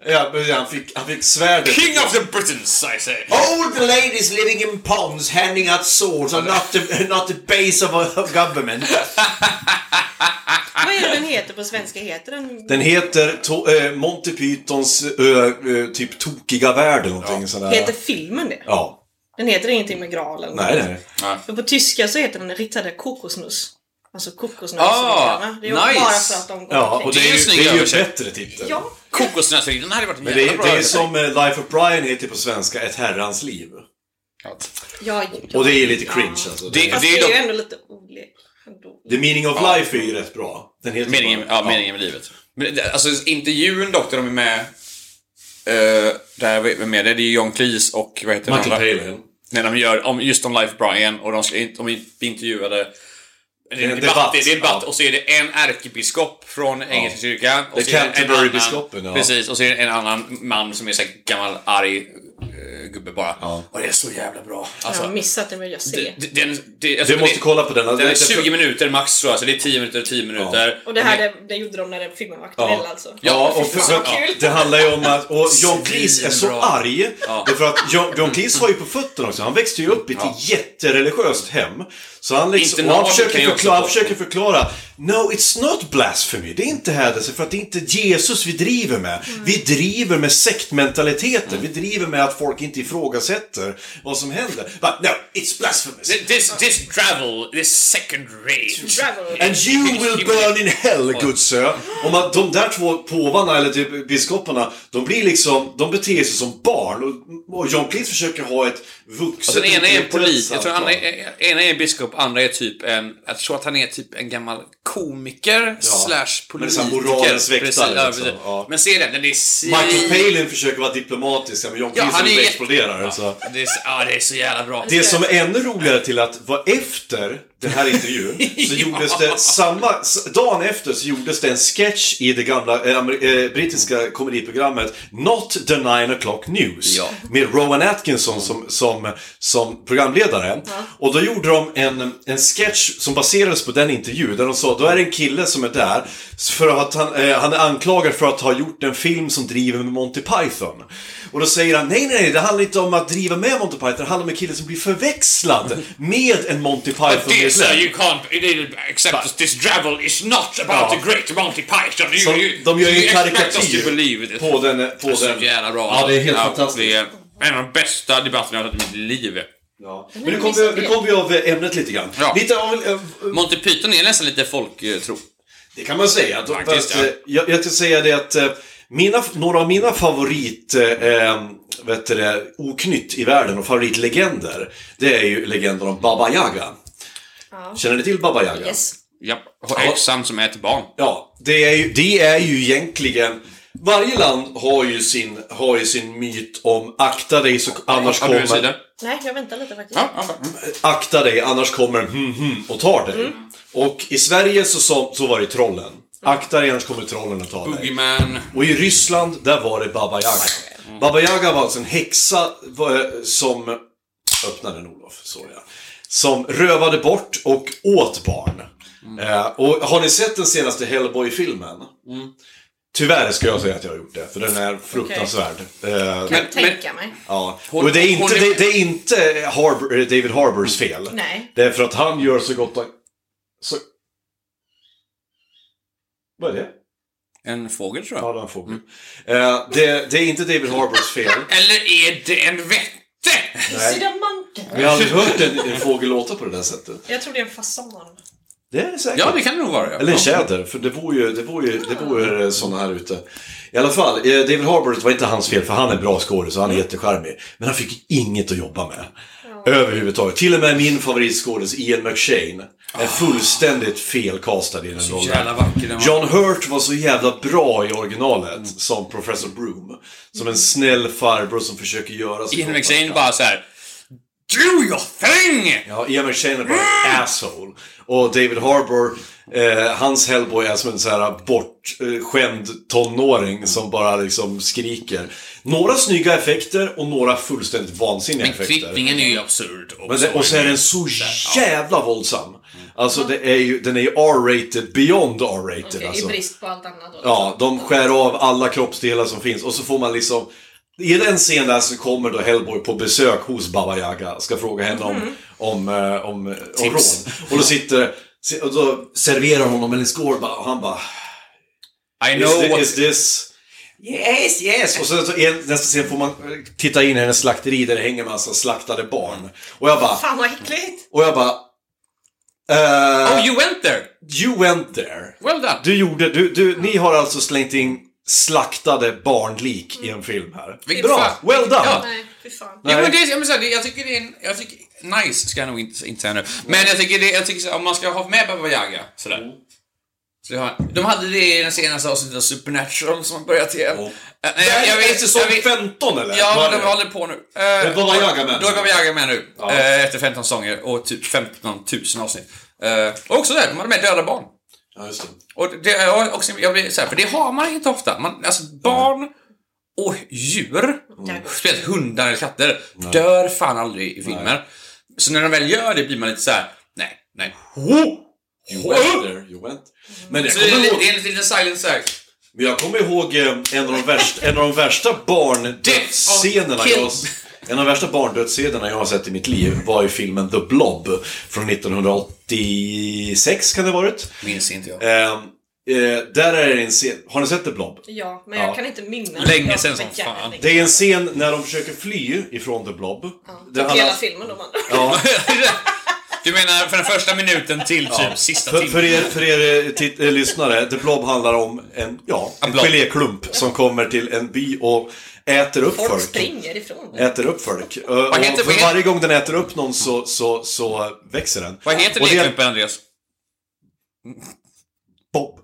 ja, men han fick, han fick svärdet. King of the Britons, I say. Old ladies living in ponds handing out swords are not the, not the base of a of government. Vad är det den heter på svenska? Heter den... Den heter to- eh, Monty Pythons eh, eh, typ tokiga värld eller någonting sådär. Heter filmen det? Ja. Den heter ingenting med graalen. Nej, nej. För på tyska så heter den Rittade kokosnuss. Alltså kokosnötsriddarna. Ah, det är ju bara nice. för att de går Ja, omkring. och det är Det är en ju, snygg det är ju översättning. bättre titel. Ja, Kokosnötsriddarna hade varit en Men det är, jävla bra det är översättning. som eh, Life of Brian heter på svenska, Ett herrans liv. ja, ja. Och det är lite cringe alltså. Det- Fast det är ju dock- ändå lite olek. ändå. The meaning of life är ju rätt bra. Den heter Meningen, bara- ja, meningen med livet. Men, det- alltså intervjun dock, där de är med... Uh, där vi är med, det är ju John Cleese och vad heter Michael den andra? Palin. När de gör om, just om Life Brian och de, ska, in- de blir intervjuade. Det är en En debatt, debatt, det är en debatt ja. och så är det en ärkebiskop från Engelska kyrkan. och Det är så är det en Canterbury-biskopen, annan- ja. Precis, och så är det en annan man som är så här gammal arg eh, gubbe bara. Och det är så jävla bra. Jag Alltså, har missat det, men jag ser. d- d- den, det, alltså, Du måste det, kolla på den. Den är 20 minuter max tror jag, så det är 10 minuter 10 minuter. Och det här det, det gjorde de när det- filmen var aktuell Ja. alltså. Ja, och för, Så för, kul. det handlar ju om att... Och John Cleese är så Svinbra. arg. Därför att John, John Cleese var ju på fötterna också. Han växte ju upp i ett jättereligiöst hem. Så han, liksom, och Internat han, kan försöker jag också förklara, han få. försöker förklara. No, it's not blasphemy. Det är inte hädelse för att det är inte Jesus vi driver med. Vi driver med sektmentaliteten. Vi driver med att folk inte ifrågasätter vad som händer. But no, it's blasphemous. This, this travel, this second rage. Travel. And you will burn in hell, good sir. Om att de där två påvarna, eller typ biskoparna, de blir liksom, de beter sig som barn. Och, och John Cleese försöker ha ett vuxet... Så Alltså, den ena är en intellektuellt polis, jag tror han samtal. är, eh, ena är en biskop, andra är typ en, jag tror att han är typ en gammal komiker slash men det politiker. är så här moralens väktare, Precis, ja, liksom. precis. Ja. Men se den, den är svin... Michael Palin försöker vara diplomatisk, men John Ja, Cleese han är ja, jätte- exploderar. Så. Det är, så- ja, det är så jävla bra. Det som är ännu roligare till att var efter den här intervjun så gjordes det samma, s- dagen efter så gjordes det en sketch i det gamla eh, amer- eh, brittiska komediprogrammet Not the Nine O'Clock News Ja. med Rowan Atkinson som, som, som programledare. Och då gjorde de en, en sketch som baserades på den intervjun där de sa, då är det en kille som är där för att han, eh, han är anklagad för att ha gjort en film som driver med Monty Python. Och då säger han, nej nej nej, det handlar inte om att driva med Monty Python, det handlar om en kille som blir förväxlad med en Monty Det, sir, Python-medlem. you can't it is- accept this travel is not about Ja. the great Monty Python. You, Så you, de gör ju you expect us karikatyr to believe it. På den, på Så den. jävla bra. Ja, det är helt Ja, fantastiskt. Det är en av de bästa debatterna jag har haft i mitt liv. Ja. Men nu kommer vi, nu kom vi av ämnet lite grann. Ja. Lite av, eh, Monty Python är nästan lite folktro. Det kan man säga. Att, Faktiskt, att, ja. eh, jag, jag ska säga det att eh, mina, några av mina favorit eh, eh, vet du det, oknytt i världen och favoritlegender, det är ju legenden om Baba Yaga. Känner ni till Baba Yaga? Yes. Ja, och häxan som äter barn. Ja, det är ju, det är ju egentligen varje land har ju, sin, har ju sin myt om akta dig så annars Har du en kommer, sida? Nej, jag väntar lite faktiskt. Ja, ja, ja. akta dig annars kommer hmm, hmm och tar dig. Och i Sverige så, så, så var det trollen. Akta dig annars kommer trollen att ta dig. Boogeyman. Och i Ryssland, där var det Baba Yaga. Mm. Baba Yaga var alltså en häxa var- som... Öppna den Olof, sorry. Som rövade bort och åt barn. Mm. Eh, och har ni sett den senaste Hellboy-filmen? Mm. Tyvärr ska jag säga att jag har gjort det, för den är fruktansvärd. Eh, Kan Men- tänka mig. ja. Hon- Och det är hon inte, är- det, det är inte Harbour, eh, David Harbours fel. Nej. Det är för att han gör så gott han... Så... Vad är det? En fågel tror Ja, jag. det är en fågel. Eh, det, det är inte David Harbours fel. Eller är det en vätt? Sida manken. Vi har aldrig hört en, en fågel låta på det där sättet. Jag tror det är en fasan. Det är det säkert. Ja, det kan det nog vara. Ja. Eller en tjäder, för det bor ju, det bor ju, det bor ju sådana här ute. I alla fall, eh, David Harbour det var inte hans fel, för han är bra skådis så han är Mm. jättecharmig. Men han fick inget att jobba med. Överhuvudtaget. Till och med min favoritskådis Ian McShane är fullständigt felkastad i den Ah. Så rollen. jävla vacker den var. John Hurt var så jävla bra i originalet Mm. som Professor Broom. Som en snäll farbror som försöker göra så Ian gott han McShane kan. bara så här. Do your thing! Ja, Ian McShane är bara en asshole. Och David Harbour, eh, hans Hellboy är som en så här bortskämd tonåring som bara liksom skriker. Några snygga effekter och några fullständigt vansinniga Men effekter. klippningen är ju absurd. Men det, och så är den så jävla våldsam. Alltså det är ju, den är ju R-rated beyond R-rated Okej, alltså. I brist på allt annat då. Ja, de skär av alla kroppsdelar som finns och så får man liksom i den scenen där så kommer då Hellboy på besök hos Baba Yaga ska fråga henne om, om, eh, om, eh, om rån. Mm. Tips. Och då sitter, och då serverar hon honom en skål bara- och han bara I Is, know thi- what... is this... Yes, yes! Och sen så i en- nästa scen får man eh, titta in i hennes slakteri där det hänger massa slaktade barn. Och jag bara, Fan vad äckligt! och jag bara... eh, Oh, you went there! you went there. Well done! Du gjorde, du, du, ni har alltså slängt in slaktade barnlik i en film här. Vilket Bra! fan. Well done! Ja. Nej, fy fan. Jo, Nej. men det, jag, menar, så här, det, jag tycker det är en, jag tycker, Nice ska jag nog inte, inte säga nu. Men jag tycker, det, jag tycker så här, om man ska ha med Baba Yaga, sådär. Mm. Så jag har- de hade det i den senaste avsnittet av Supernatural som har börjat igen. Oh. Eh, nej, jag, jag vet, säsong jag vet, 15 eller? Ja, Var men det? de håller på nu. Eh, Baba Yaga med. Då är Baba Yaga med nu. Ja. Eh, efter 15 säsonger och typ 15 000 avsnitt. Eh, och också där, de hade med döda barn. Ja, just det. Och det, jag, också, jag blir så här, för det har man inte ofta. Man, alltså barn och djur, speciellt hundar eller katter, dör fan aldrig i filmer. Så när de väl gör det blir man lite så här: nej, nej. Oh! You went there, you went. Men jag Så det, är kommer li- ihåg, det är en liten silent så här. men jag kommer ihåg eh, en av de värsta, en av de värsta barndödsscenerna Kill. jag har s- en av de värsta barndödsscenerna jag har sett i mitt liv var ju filmen The Blob från 1986 kan det ha varit. Minns inte jag. Ehm, eh, där är det en scen, har ni sett The Blob? Ja, men jag kan inte minnas. Länge Jag sedan var som fan. jävligt. Det är en scen när de försöker fly ifrån The Blob. Där Typ alla- hela filmen då man. Ja, du menar från den första minuten till typ sista för, timmen? för er, för er eh, titt, eh, lyssnare, The Blob handlar om en, ja, en blob. geléklump som kommer till en by och äter upp Folk folk. springer ifrån det. Äter upp folk. Eh, Och heter- vad för heter- varje gång den äter upp någon så, så, så växer den. Vad heter Och det det är- klumpen, Andreas? Bob.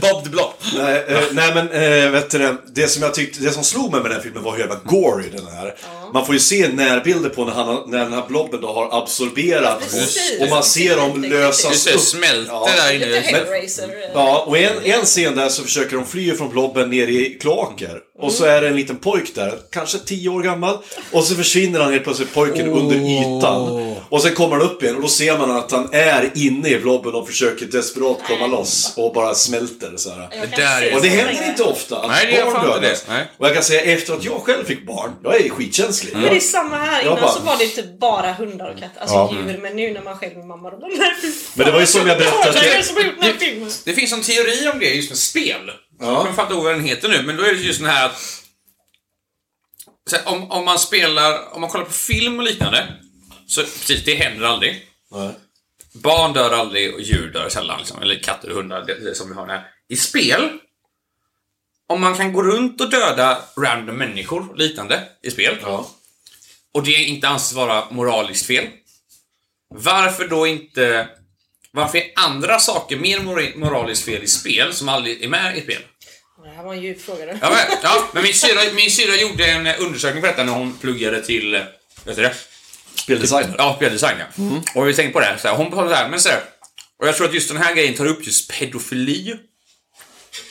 Bob the Blob. Nej, eh, nej men eh, vet du, det, det som jag tyckte, det som slog mig med den här filmen var hur jävla gory den är. Man får ju se närbilder på när, han, har- när den här blobben då har absorberat Precis. oss och man ser dem Just lösas det, upp. smälter Ja. där Lite inne. Hellraiser. eh, Ja, och en, en scen där så försöker de fly från blobben ner i kloaker. Och så är det en liten pojk där, kanske 10 år gammal. Och så försvinner han helt plötsligt, pojken, under ytan. Och sen kommer han upp igen och då ser man att han är inne i blobben och försöker desperat komma loss och bara smälter så här. jag Det kan där se är- Och det så händer länge. inte ofta att Nej, det gör barn fan inte dödas. det. Nej. Och jag kan säga efter att jag själv fick barn, jag är skitkänslig. Men Mm. det är samma här. Jag Innan bara- så var det typ bara hundar och katter. Alltså Ja. djur. Men nu när man själv är mamma då bara nej fy fan, Men det var ju som jag berättade- vad är Det som har gjort den här filmen. Det finns en teori om det just med spel. Ja. Jag kommer fan inte ihåg vad den heter nu, men då är det just den här att... Så här, om, om man spelar, om man kollar på film och liknande. Så precis, det händer aldrig. Nej. Barn dör aldrig och djur dör sällan. Liksom, eller katter och hundar, det, det som vi har här. I spel, om man kan gå runt och döda random människor och liknande i spel. Ja. och det inte anses vara moraliskt fel. Varför då inte... Varför är andra saker mer mor- moraliskt fel i spel som aldrig är med i spel? Det här var en djup fråga. du. Ja, men, ja, men min syra, min syra gjorde en eh, undersökning för detta när hon pluggade till... eh, Vet du det? Speldesigner. Ja, speldesign ja. Mm. Och vi tänkte på det här, så här hon sa så här, men så här, Och jag tror att just den här grejen tar upp just pedofili.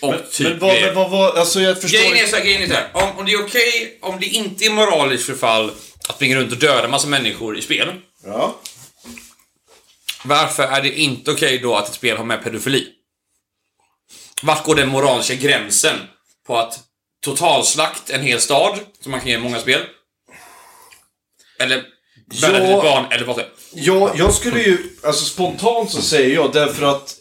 Och typ... Men vad, eh, men vad, vad, alltså jag förstår Grejen är så här, grejen är så här. Om, om det är okej, om det inte är moraliskt förfall att springa runt och döda massa människor i spel. Ja. Varför är det inte okej då att ett spel har med pedofili? Vart går den moraliska gränsen på att totalslakt en hel stad, som man kan göra i många spel? Eller mörda ett Ja. litet barn, eller vad det Ja, jag skulle ju, alltså spontant så säger jag därför att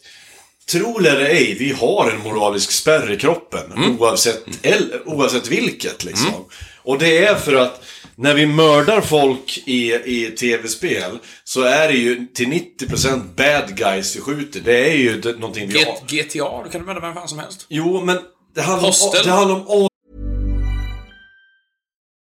Tro eller ej, vi har en moralisk spärr i kroppen oavsett, eller, oavsett vilket. Liksom. Och det är för att när vi mördar folk i, i tv-spel så är det ju till 90% bad guys vi skjuter. Det är ju det, någonting vi har. G- GTA, du kan du vända vem fan som helst. Jo, men det handlar om, Hostel. det handlar om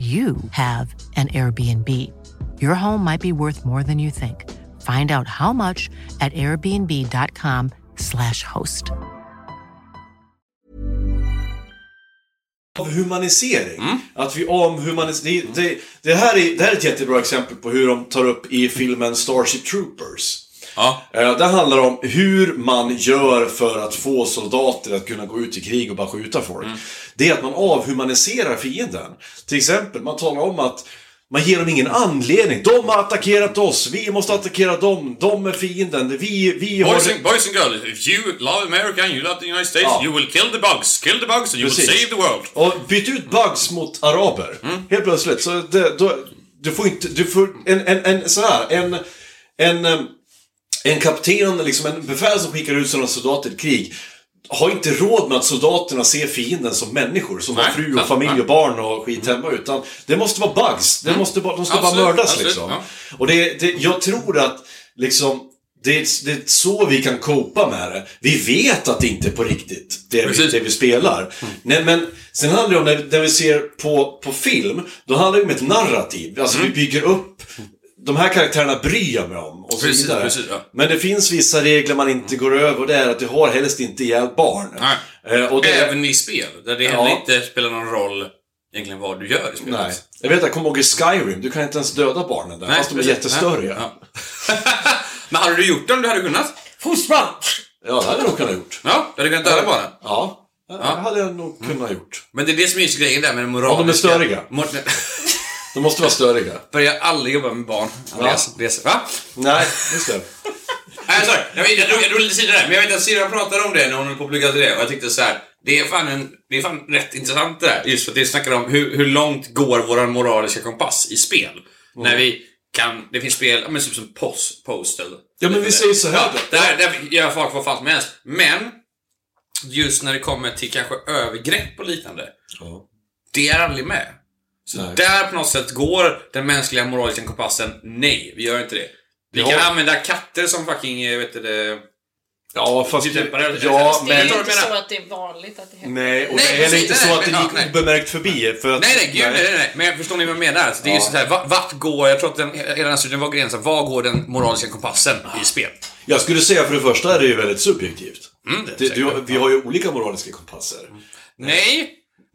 you have an Airbnb. Your home might be worth more than you think. Find out how much at airbnb.com/slash host. avhumanisering. Att vi avhumaniserar... Det, det, det, här är, det här är ett jättebra exempel på hur de tar upp i filmen Starship Troopers. Ja. Eh, Det handlar om hur man gör för att få soldater att kunna gå ut i krig och bara skjuta folk. Det är att man avhumaniserar fienden. Till exempel, man talar om att man ger dem ingen anledning. De har attackerat oss, vi måste attackera dem, de är fienden, vi, vi har... Boys and, boys and girls, if you love America and you love the United States, Ja. you will kill the bugs. Kill the bugs and you will Precis. save the world. Mm. Och byt ut bugs mot araber. Helt plötsligt. Så det, då, du får inte... Du får en, en, en så här, en... En, em, en kapten, liksom en befäl som skickar ut sina soldater i krig har inte råd med att soldaterna ser fienden som människor som har Nej, fru nej, och familj nej. Mm. och barn och skit hemma utan det måste vara bugs. Det måste bara, de ska Absolut, bara mördas absolut, liksom. ja. Och det, det, jag tror att liksom det är, det är så vi kan copa med det. Vi vet att det inte är på riktigt, det vi, Precis. Mm. det vi spelar. Nej, men sen handlar det om, när, när vi ser på, på film, då handlar det om ett narrativ. Alltså Mm. vi bygger upp, de här karaktärerna bryr jag mig om och så Precis, vidare. precis, ja. Men det finns vissa regler man inte går över och det är att du har helst inte ihjäl barn. Nej. Eh, och det, Även i spel, där det heller Ja. inte spelar någon roll egentligen vad du gör i spelet. Nej. Jag vet, jag kommer ihåg i Skyrim, du kan inte ens döda barnen där, fast de är precis. jättestöriga. Nej. Ja. Men hade du gjort det om du hade kunnat? Fostran! Ja, det hade jag nog kunnat gjort. Ja, du hade kunnat döda bara. Mm. Ja, det hade jag nog kunnat gjort. Men det är det som är just grejen där med den moraliska... Om de är störiga. Mor- De måste vara störiga. Börja aldrig jobba med barn. Andreas, Andreas. Va? Nej, just det. Nej, sorry. Jag, jag, drog, jag drog lite sidan där, men jag vet att Syrran pratade om det när hon höll på att plugga till det och jag tyckte så här. Det är fan, en, det är fan rätt intressant det där. Just för att det snackar om hur, hur långt går våran moraliska kompass i spel? Mm. När vi kan, det finns spel, ja, men typ som post, Postal. Ja, men vi säger så här då. Där, där gör folk vad fan som helst. Men, just när det kommer till kanske övergrepp och liknande. Ja. Det är aldrig med. Så Nej. där på något sätt går den mänskliga moraliska kompassen, nej, vi gör inte det. Vi Ja. kan använda katter som fucking, eh, vet du det, Ja, fast... Typ temporär- Ja, Det är Jag men... tror inte jag menar- så att det är vanligt att det händer. Nej, och Nej, det är heller precis, inte nej, så nej, att det men- ja, gick nej. obemärkt förbi. För att, Nej, nej, gud, nej, nej, nej. Men förstår ni vad jag menar? Så det är ju så här, va- vart går, jag tror att den, hela den här studien var gränsen, var går den moraliska kompassen Ah. i spel? Jag skulle säga för det första är det ju väldigt subjektivt. Mm, det är det, säkert. du, vi har ju olika moraliska kompasser. Nej!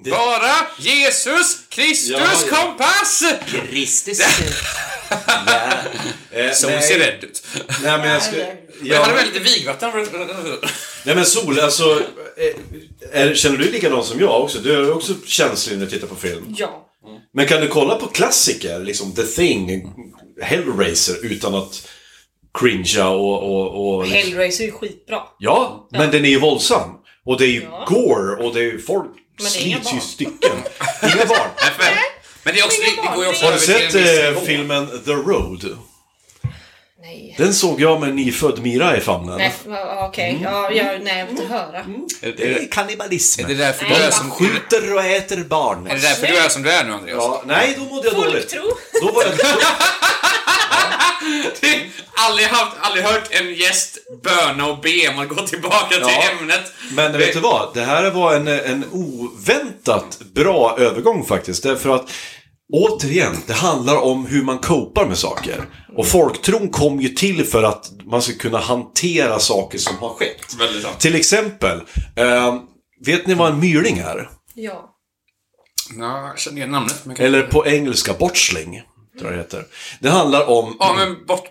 Bara Jesus Kristus Ja, ja. kompass! Christus. Eh, Så hon nej, ser rädd ut. Nej, men jag skulle... Jag Ja, hade väl lite vigvatten. nej, men Sol, alltså... eh, Är, känner du likadant som jag också? Du är också känslig när du tittar på film. Ja. Men kan du kolla på klassiker, liksom The Thing, Hellraiser, utan att cringea och... och, och Hellraiser är ju skitbra. Ja, men den är ju våldsam. Och det är ju Ja. gore och det är ju folk det är inga slits ju i barn. stycken. Inga barn. Men, men det, är också, det, det går ju också Har du över till en sett viss eh, nivå. filmen The Road? Nej. Den såg jag med en nyfödd Mira i famnen. Nej, f- ja, okej. Mm. Ja, jag, nej, jag vill inte höra. Är det, Det är är kannibalism. det därför du Nej, är vad som, är Skjuter och äter barn. det därför du är som du är nu, Andreas? Ja, nej, då mådde jag dåligt. Folktro. Då var jag... aldrig, haft, aldrig hört en gäst böna och be om att gå tillbaka Ja. till ämnet. Men vet du vad? Det här var en, en oväntat bra övergång faktiskt. Därför att Återigen, det handlar om hur man copar med saker. Och folktron kom ju till för att man ska kunna hantera saker som har skett. Väldigt sant. Till exempel, eh, vet ni vad en myrling är? Ja. Ja, jag känner igen namnet. Men kan... Eller på engelska, bortsling. Tror jag det heter. Det handlar om... Ja, men bort...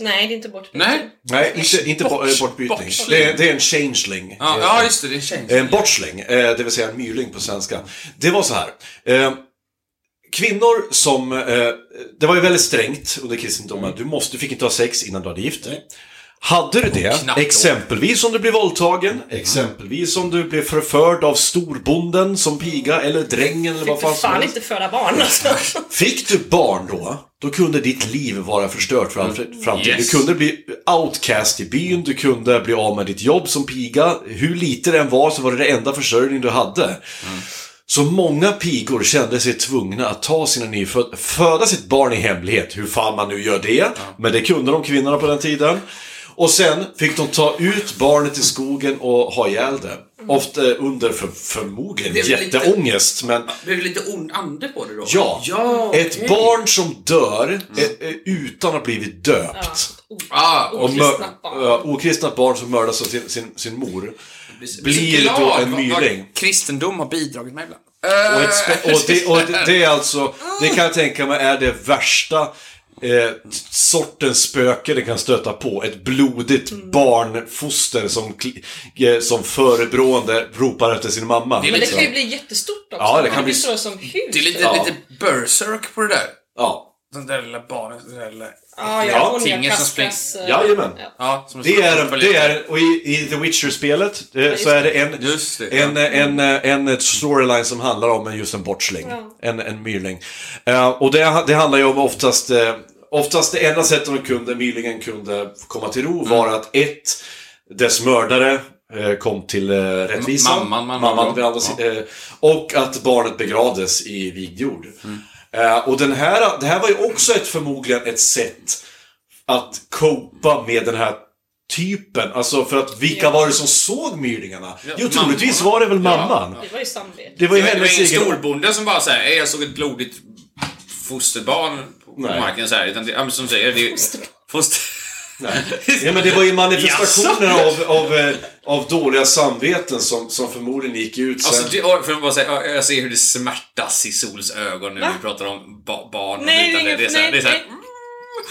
Nej, det är inte bortbyte. Nej? Nej, inte, inte Bort- bo- eh, bortbytning. bortsling. Det är, det är en changeling. Ja, ja just det. Det känns... En bortsling, eh, det vill säga en myrling på svenska. Det var så här. eh, Kvinnor som... eh, Det var ju väldigt strängt under kristendomen. Mm. Du måste, fick inte ha sex innan du hade gift dig. Hade du det, knappt då. Mm. exempelvis om du blev våldtagen, exempelvis om du blev förförd av storbonden som piga eller drängen eller vad Fick för fan som fan helst. inte föda barn alltså. Fick du barn då, då kunde ditt liv vara förstört för all fr- framtid. Mm. Yes. Du kunde bli outcast i byn, du kunde bli av med ditt jobb som piga. Hur lite det än var så var det det enda försörjning du hade. Mm. Så många pigor kände sig tvungna att ta sina nyfödda, föda sitt barn i hemlighet, hur fan man nu gör det. Men det kunde de kvinnorna på den tiden. Och sen fick de ta ut barnet i skogen och ha ihjäl det. Ofta under för, förmodligen Mm. Det är väl lite- jätteångest, men Blev det lite ond ande på det då? Ja, ja Mm. ett barn som dör eh, eh, utan att ha blivit döpt. Ah, och Och mör- Okristnat barn. ja, okristnat barn som mördas av sin, sin, sin mor. blir Blir då en myrling. kristendom har bidragit med ibland. Och, ett spe- och, det, och det, det är alltså, det kan jag tänka mig är det värsta eh, sortens spöke det kan stöta på. Ett blodigt barnfoster som, kli- eh, som förebrående ropar efter sin mamma. Liksom. Det är Men det lite kan ju bli jättestort också. Ja, det kan Man bli- blir så som hus. Det är lite, Ja. lite berserk på det där. Ja. Den där lilla barnet, den där lilla... Ja, Ja, ja, hon tingen som kaskas, sprängs. eh, Jajamän. Ja, som Det är, det är, och i, i The Witcher-spelet eh, så är det en, Just det, en, en, en, en storyline som handlar om just en bortsling. En, en myrling. Eh, och det, det handlar ju om oftast, eh, oftast det enda sättet de kunde, myrlingen kunde komma eh, till ro var Mm. att ett, dess mördare eh, kom till eh, rättvisan. mamman man mamman var. vid andra Ja. sidan, eh, Och att barnet begravdes i vigd jord. Mm. Eh, och den här, det här var ju också ett, förmodligen ett sätt att copa med den här typen. Alltså för att vilka var det som såg myrdingarna? jo, troligtvis mammorna. var det väl Ja, mamman. Det var ju samvete. Det var ju Det var hennes ingen egen... storbonde som bara såhär, jag såg ett blodigt fosterbarn på Nej. marken såhär. Utan det, ja, men som säger, det är... Foster... Ja, men det var ju manifestationer av, av, eh, av dåliga samveten som, som förmodligen gick ut sen. Alltså, det, och för att bara säga, ja, jag ser hur det smärtas i Sols ögon nu när Va? vi pratar om ba barn och Nej, det är liknande. inget- Det är såhär, nej, det är såhär,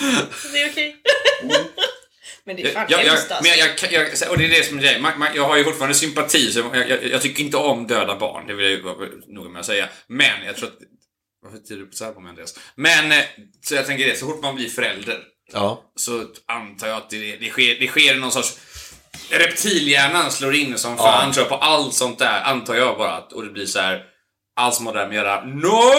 nej. Det är okej. Mm. Men det är fan Jag, jag, hemskt men alltså. jag, kan- jag, och det är det som är grejen. Man- man- Jag har ju fortfarande sympati, så jag, jag, jag tycker inte om döda barn. Det vill jag ju vara noga med att säga. Men jag tror att... Varför tittar du så här på mig, Andreas? Men, eh, så jag tänker det, så fort man blir förälder ja. så antar jag att det, det, sker, det sker någon sorts... Reptilhjärnan slår in som fan tror jag, på allt sånt där, antar jag bara. Att, och det blir så här allt som har där med att göra. No!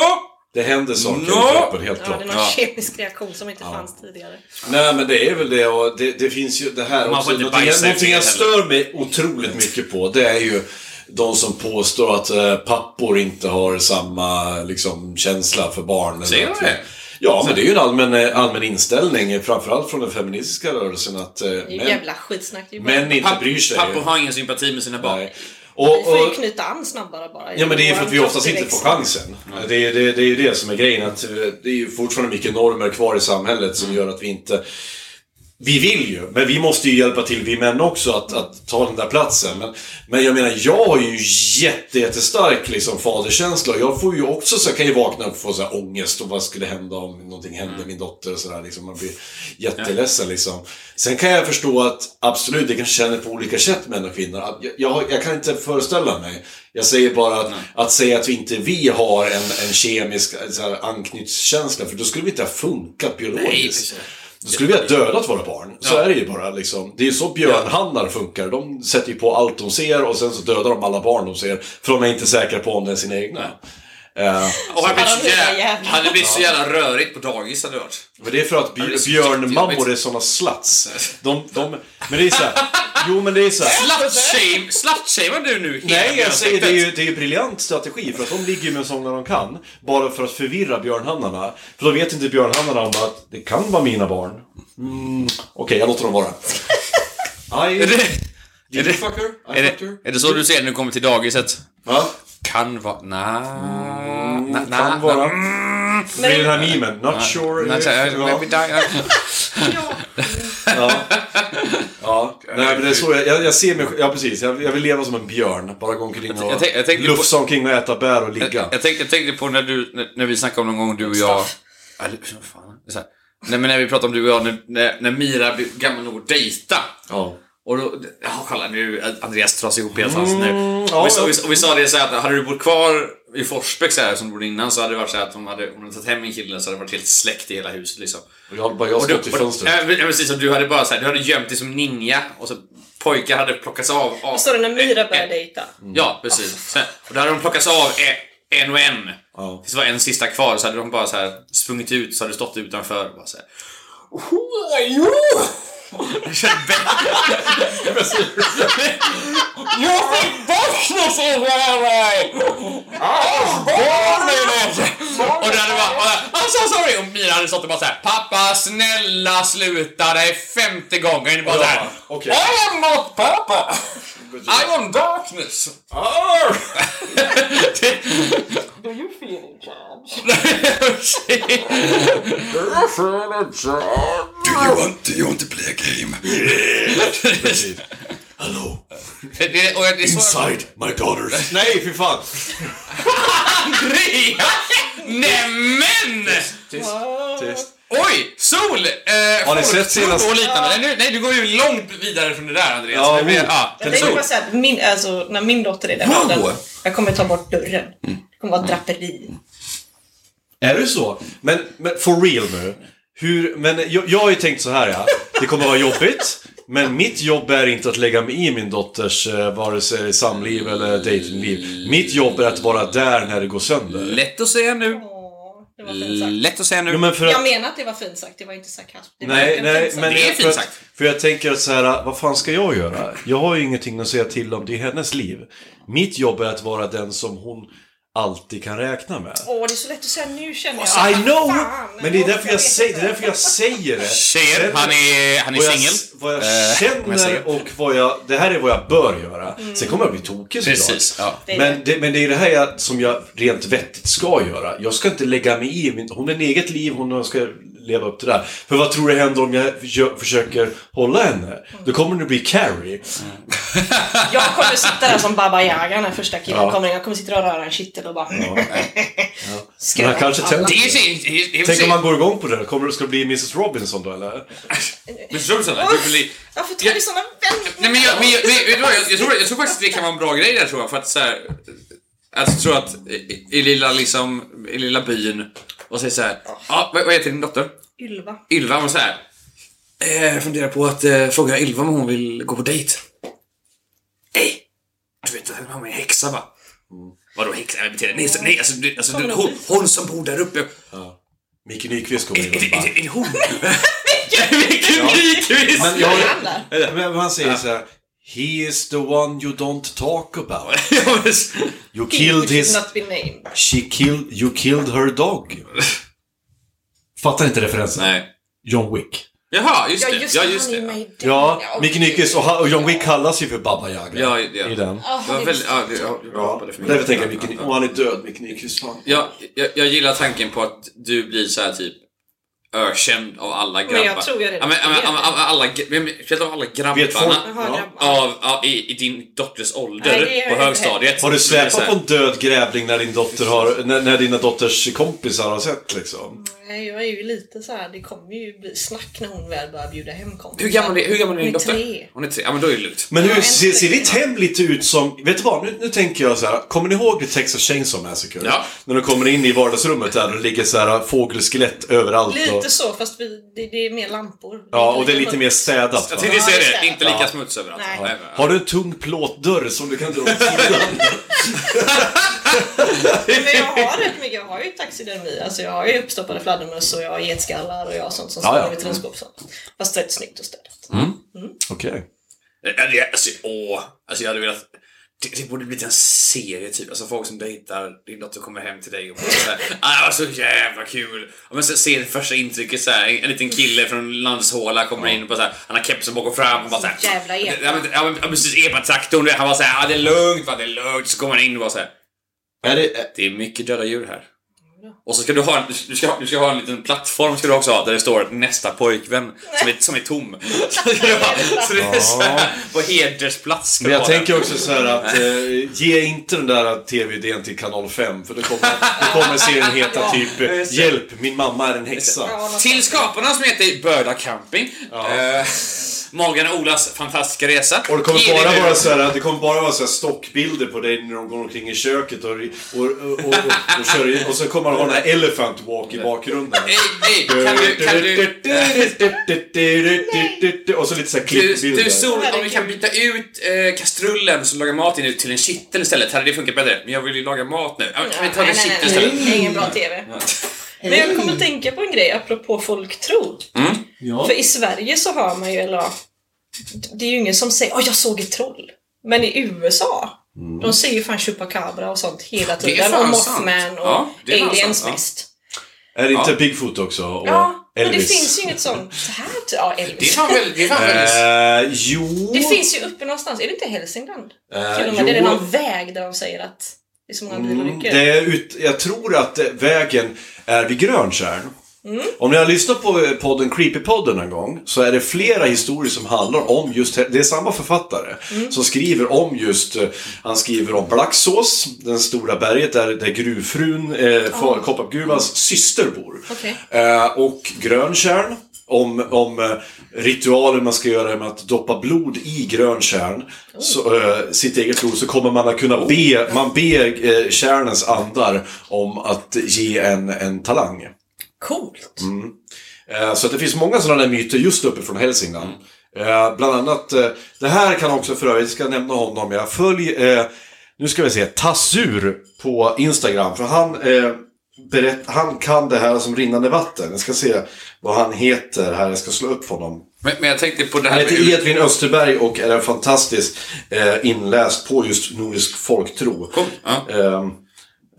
Det hände saker Nå! i kroppen, helt alltså. Ja, klart. det är någon Ja. kemisk reaktion som inte fanns tidigare. Nej, men det är väl det och det, det finns ju det här Man också. får inte Någonting, jag- bajsa i någonting jag fel stör mig otroligt mycket på, det är ju de som påstår att eh, pappor inte har samma liksom, känsla för barn. eller Säger de att- det? Ja, men det är ju en allmän, eh, allmän inställning, eh, framförallt från den feministiska rörelsen, att eh, Det är ju män, jävla skitsnack. Det är ju bara- män inte Papp- bryr sig. Pappor har ingen sympati med sina barn. Nej. Och, Vi får ju och, knyta an snabbare bara. Ja men det är ju för att vi Vår oftast inte får kroppstillväxt. chansen. Det är, det, det är ju det som är grejen. Att eh, det är ju fortfarande mycket normer kvar i samhället som gör att vi inte... Vi vill ju, men vi måste ju hjälpa till vi män också att, att ta den där platsen. Men, men jag menar, jag har ju jätte, jättestark liksom, faderkänsla. och Jag får ju också så jag kan ju vakna och få så här ångest och vad skulle hända om någonting hände Mm. min dotter och sådär. Liksom. Man blir jätteledsen liksom. Sen kan jag förstå att absolut, det kanske känner på olika sätt män och kvinnor. Att jag, jag, har- jag kan inte föreställa mig. Jag säger bara att, att säga att vi inte vi har en, en kemisk så här, anknytningskänsla, för då skulle vi inte ha funkat Nej, biologiskt. precis. Då skulle vi ha dödat våra barn. Så Ja. är det ju bara liksom. Det är ju så björnhannar funkar. De sätter ju på allt de ser och sen så dödar de alla barn de ser. För de är inte säkra på om det är sina egna. Eh, Och hade blivit så Paranoia jävla, jävlar. hade bllir så jävla rörigt på dagis hade det varit. men det är för att Ja, det är bj- så björnmammor jättejobbigt. är såna sluts. De, de, men det är så här, Jo men det är så här. Slutshamear Slutshamear du nu hela Nej, jag säger det är ju, björnavsnittet? det är ju briljant strategi för att de ligger ju med sångerna de kan. Bara för att förvirra björnhannarna. För då vet inte björnhannarna om att det kan vara mina barn. Mm, Okej, jag låter dem vara. I, Är det- Är you det, fucker? I är, fucker? det, är det så du ser när du kommer till dagiset? Va? Kan vara... Nja... Nja... Mm, Kan vara. nja, Men- Leonard Neiman, not sure. Nej, så här, ja. let me die. Ja. Ja. Nej, men det är så jag, jag, jag ser mig Ja, precis. Jag, jag vill leva som en björn. Bara gå omkring och jag tänk- jag tänker på- lufsa omkring och äta bär och Jag, ligga. jag, tänkte, jag tänkte på när, du, när, när vi snackade om någon gång du och jag... Ja, det- vad fan, det är så här. Nej men när vi pratade om du och jag, när, när, när Mira blev gammal nog att dejta. Ja. Och då, ja kolla nu, Andreas dras ihop helt hans nu. ja, och, vi, sa- och, Mm, ja. vi, sa- och vi sa det så här att hade du bott kvar i Forsbäck så här, som du bodde innan så hade det varit så här att om hade, om du hade tagit hem en kille så hade det varit helt släckt i hela huset liksom. Och jag hade bara jag Och du, Äh. stått i och, fönstret. ja, men- ja, precis, och du hade bara så här, du hade gömt dig som ninja och så pojkar hade plockats av. av Vad står det när Myra Ah. eh, börjar eh, dejta? Mm. Ja, precis. Sen, och då hade de plockats av e- en och en. Ja. Tills det var en sista kvar så hade de bara så här sprungit ut så hade det stått utanför och bara så här. "Who are you?" Jag kände Bengt. You think business is that way? I alltså, was born in it! Och då hade det bara, bara, I'm so sorry! Och Mira hade stått och bara såhär, pappa snälla sluta, det är femte gången. Bara Ja, såhär, okej. I am not pappa! I am darkness! Det- Do you feel in charge? Precis. Hello, det- och det är så- inside my daughters. Nej, fy fan. Andreas! Nämen! Tyst, tyst. Oj! Sol! Eh, Har ni folktro sett senast- och liknande. Nej, nu, nej, du går ju långt vidare från det där Andreas. Ja, det blir, oh. ja. Jag tänkte Sol. bara säga att min, alltså, när min dotter är i den Wow. Mm. åldern, jag kommer ta bort dörren. Det kommer vara ett draperi. Är det så? Men, men for real nu. Hur, men jag, jag har ju tänkt så här ja. Det kommer vara jobbigt. Men mitt jobb är inte att lägga mig i min dotters eh, vare sig samliv eller dejtingliv. Mitt jobb är att vara där när det går sönder. Lätt att säga nu. Åh, det var fint sagt. Lätt att säga nu. Jo, men för att, Jag menar att det var fint sagt, det var inte sarkasm. Det var nej, verkligen nej, fint sagt. men Det är för, fint att, sagt. för jag tänker att så här, vad fan ska jag göra? Jag har ju ingenting att säga till om, det är hennes liv. Mitt jobb är att vara den som hon alltid kan räkna med. Åh, det är så lätt att säga nu känner jag. Alltså, I know! Fan, Men det är åh, därför jag, vet säger, det inte. är därför jag säger det. Tjejer, han är, han är vad jag, singel. vad jag Eh, om jag känner säger. och vad jag... Det här är vad jag bör göra. Sen kommer jag bli tokig såklart. Precis, ja. Mm. Det är Men, det, men det är det här jag, som jag rent vettigt ska göra. Jag ska inte lägga mig i. Min, hon har ett eget liv, hon ska leva upp till det här. För vad tror du händer om jag gö- försöker hålla henne? Mm. Då kommer det bli Carrie. Jag kommer sitta där som Baba Yaga när första killen Ja. kommer in. Jag kommer sitta och röra en kittel och bara... Men han kanske alla. tänder. Det är sin... det är- det är Tänk om sin- man går igång på det här. Kommer, ska det bli Mrs Robinson då eller? Men förstår du Sanna? Du blir... Varför tar Jag- vi såna vändningar? Nej men jag, men jag, men jag, vet du vad, jag, jag, tror, jag tror faktiskt det kan vara en bra grej där tror jag för att så här, Alltså jag tror att i, i lilla liksom, i lilla byn och säger såhär, ja vad, vad heter din dotter? Ylva. Ylva, och såhär. Eh, jag funderar på att eh, fråga Ylva om hon vill gå på dejt. Ey! Du vet, hon har med en häxa va? Mm. Vadå häxa? Jag beter nej, så- nej alltså, du, alltså du, hon, hon som bor där uppe. Micke Nyqvist Är, kommer in är, är, och bara... är, är det hon? Vilken nykivis! Men jag, Han där. men han säger så här. He is the one you don't talk about. Ja, men- You killed He his... should not be named. She killed... You killed her dog. Fattar inte referensen? Nej. John Wick. Jaha, just det. Ja, det, just han är det. med i den. Ja, okej. Micke Nyqvist och, han- och John Wick kallas ju för Baba Yaga. Ja, ja. I den. Ah, Det var det- väldigt, ja, det, ja, jag hoppade för Därför tänker jag mycket. Micke Nyqvist. Och han är död, Micke Nyqvist. Fan. Jag, jag, jag gillar tanken på att du blir så här typ ökänd av alla grabbar. jag tror jag ja, redan men, ja, men, vet ja, men, det. alla, gra- men- men- Speciellt av alla Vet folk... grabbarna. Ja. Av, ja, i, i din dotters ålder Nej, det gör på jag högstadiet. Har du Så släpat här, på en död grävling när din dotter har... När, när dina dotters kompisar har sett liksom? Nej, jag är ju lite så här. det kommer ju bli snack när hon väl börjar bjuda hem kompisar. Hur gammal är, hur gammal är din Hon dotter? Tre. Hon är tre. Ja, men då är det lugnt. Men hur Ja, ser, ser äntligen. ditt hem lite ut som... Vet du vad? Nu, nu tänker jag så här. Kommer ni ihåg Texas Chainsaw Massacre? Ja. När de kommer in i vardagsrummet där och det ligger så här fågelskelett överallt. och, Lite så, fast vi, det, det är mer lampor. ja, och det är lite mer städat. Jag va? tänkte Ja, säga just det. det. Inte lika smuts överallt. Nej. Nej, men- Har du en tung plåtdörr som du kan dra åt sidan? Men jag har rätt mycket, jag har ju taxidermi. Alltså jag har ju uppstoppade fladdermöss och jag har getskallar och jag har sånt som Ja, står ja. Mm. i mitt vinskåp. och sånt. Fast rätt snyggt och städat. Okej. Ja, det- Alltså, åh. Alltså jag hade velat... Det, det borde blivit en serie typ. Alltså folk som dejtar din dotter kommer hem till dig och bara såhär ah, det var så jävla kul. Och men så ser det första intrycket såhär. En, en liten kille från Landshåla kommer in och bara såhär. Han har kepsen bak och fram och bara såhär. Så jävla epa. Ja, men, ja, men, ja, precis. Epa-traktorn. du vet. Han bara såhär. Ah, det är lugnt va, det är lugnt. Så kommer han in och bara såhär. Är det... Det är mycket döda djur här. Och så ska du ha en, du ska, du ska ha en liten plattform ska du också ha, där det står nästa pojkvän, som är, som är tom. Så, ska du ha, så det är så här, på hedersplats ska Men du jag ha den. tänker också så här att eh, ge inte den där tv-idén till kanal 5 för då kommer, då kommer serien heta typ eh, Hjälp, min mamma är en häxa. Till skaparna som heter Börda Camping. Eh, Morgan och Olas fantastiska resa. Och det Ge dig kommer bara nu. vara så här, det kommer bara vara så här stockbilder på dig när de går omkring i köket och, och, och, och, och, och kör in. Och så kommer han ha den här Elephant Walk i bakgrunden. Nej, nej, kan du, kan du... Och så lite så här Du, klippbilder. du Sol, om vi kan byta ut eh, kastrullen som lagar mat i nu till en kittel istället, hade det funkat bättre? Men jag vill ju laga mat nu. Ja, men kan vi ta en nej, nej, kittel nej, istället? nej, det är ingen bra TV. Men jag kommer att tänka på en grej apropå folktro. Mm. För i Sverige så har man ju, eller ja, det är ju ingen som säger åh jag såg ett troll. Men i USA, Mm. de ser ju fan Chupacabra och sånt hela Det är tiden. fan Och sant. Mothman och Ja, det är fan aliens sant, ja. mest. Är det inte Bigfoot också? Och Ja, men det Elvis? finns ju inget sånt så här. Ja, Elvis. Det är fan väldigt... Det är fan väldigt... Eh, jo... Det finns ju uppe någonstans, är det inte Hälsingland? Eh, Till och med, det är jo. någon väg där de säger att det är så många Mm, bilolyckor. Det är ut, jag tror att eh, vägen är vid Gröntjärn. Om ni har lyssnat på eh, podden Creepypodden en gång så är det flera historier som handlar om just, det är samma författare som skriver om just, eh, han skriver om Blacksås, den stora berget där, där gruvfrun, eh, oh. koppargruvans syster bor. Okej. Eh, och Gröntjärn. Om, om eh, ritualen man ska göra med att doppa blod i grönkärn, så, eh, sitt eget blod, så kommer man att kunna be, man ber eh, kärnens andar om att ge en, en talang. Coolt! Mm. Eh, Så att det finns många sådana där myter just uppe från Hälsingland. Mm. Eh, Bland annat, eh, det här kan också för övrigt, ska jag nämna honom, jag följer, eh, nu ska vi se, Tassur på Instagram. För han, eh, berätt, han kan det här som rinnande vatten. Jag ska se vad han heter här, jag ska slå upp honom. Men, men jag tänkte på det här Han med... heter Edvin Österberg och är en fantastisk eh, inläst på just nordisk folktro. Cool. Ja. Ehm,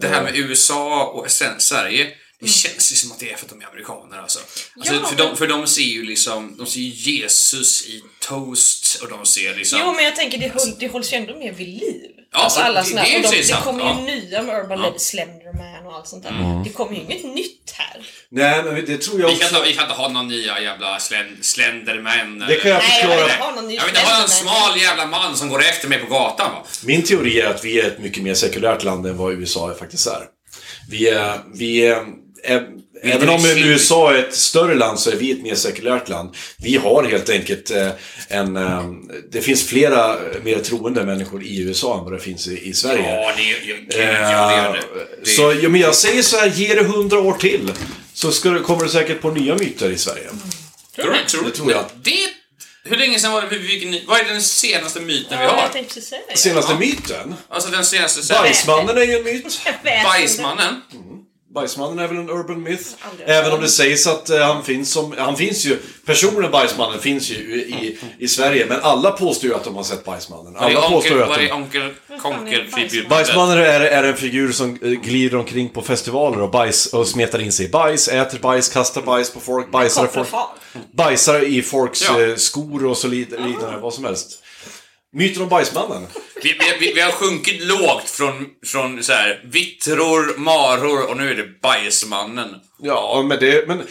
Det här med USA och sen Sverige. Det känns ju som att det är för att de är amerikaner alltså. alltså Mm. Ja, för, de, för de ser ju liksom, de ser ju Jesus i toast och de ser liksom... Jo, men jag tänker det, håll, det hålls ju ändå mer vid liv. Ja, alltså alla det- såna det är här, ju och de, precis det sant, kommer ju ja. Mm. nya med Urban Legend, Slenderman och allt sånt där. Det kommer ju inget nytt här. nej, men det tror jag Vi kan, också. inte, vi kan inte ha någon nya jävla slend, Slenderman. Det kan jag Nej, jag förklara. vill inte ha någon ny Jag vill inte ha någon Slenderman. smal jävla man som går efter mig på gatan va. Min teori är att vi är ett mycket mer sekulärt land än vad USA faktiskt är. Vi är... Vi är ä- Även om riksfri. USA är ett större land så är vi ett mer sekulärt land. Vi har helt enkelt eh, en... eh, Det finns flera eh, mer troende människor i USA än vad det finns i, i Sverige. Eh, Ja, det är ju... gud, Ja, det gör det. det. Ehm. Så ja, men jag säger så här, ge det hundra år till. Så ska, du- kommer du säkert på nya myter i Sverige. Mm. tror du, tror du, Det tror jag. Det, hur länge sedan var det vi fick en ny... Vad är den senaste myten vi Ja, har? jag tänkte precis säga det. Senaste myten? Alltså den senaste... så här- Bajsmannen är ju en myt. Väsen. Bajsmannen. Bajsmannen är väl en urban myth? Även om det sägs att eh, han finns som, han finns ju, personen Bajsmannen finns ju i, i, i Sverige, men alla påstår ju att de har sett Bajsmannen. Var det Alla påstår onkel, ju att var det de... onkel fan är Konkel Bajsmannen? Bajsmannen är, är en figur som eh, glider omkring på festivaler och, bajs, och smetar in sig i bajs, äter bajs, kastar bajs på folk, bajsar, i folk, Kopplarfar. bajsar i folks Ja. eh, skor och så lid- liknande, vad som helst. Myten om Bajsmannen. Vi, vi, vi, vi har sjunkit lågt från, från så här, vittror, maror och nu är det Bajsmannen. Ja, men det... Men...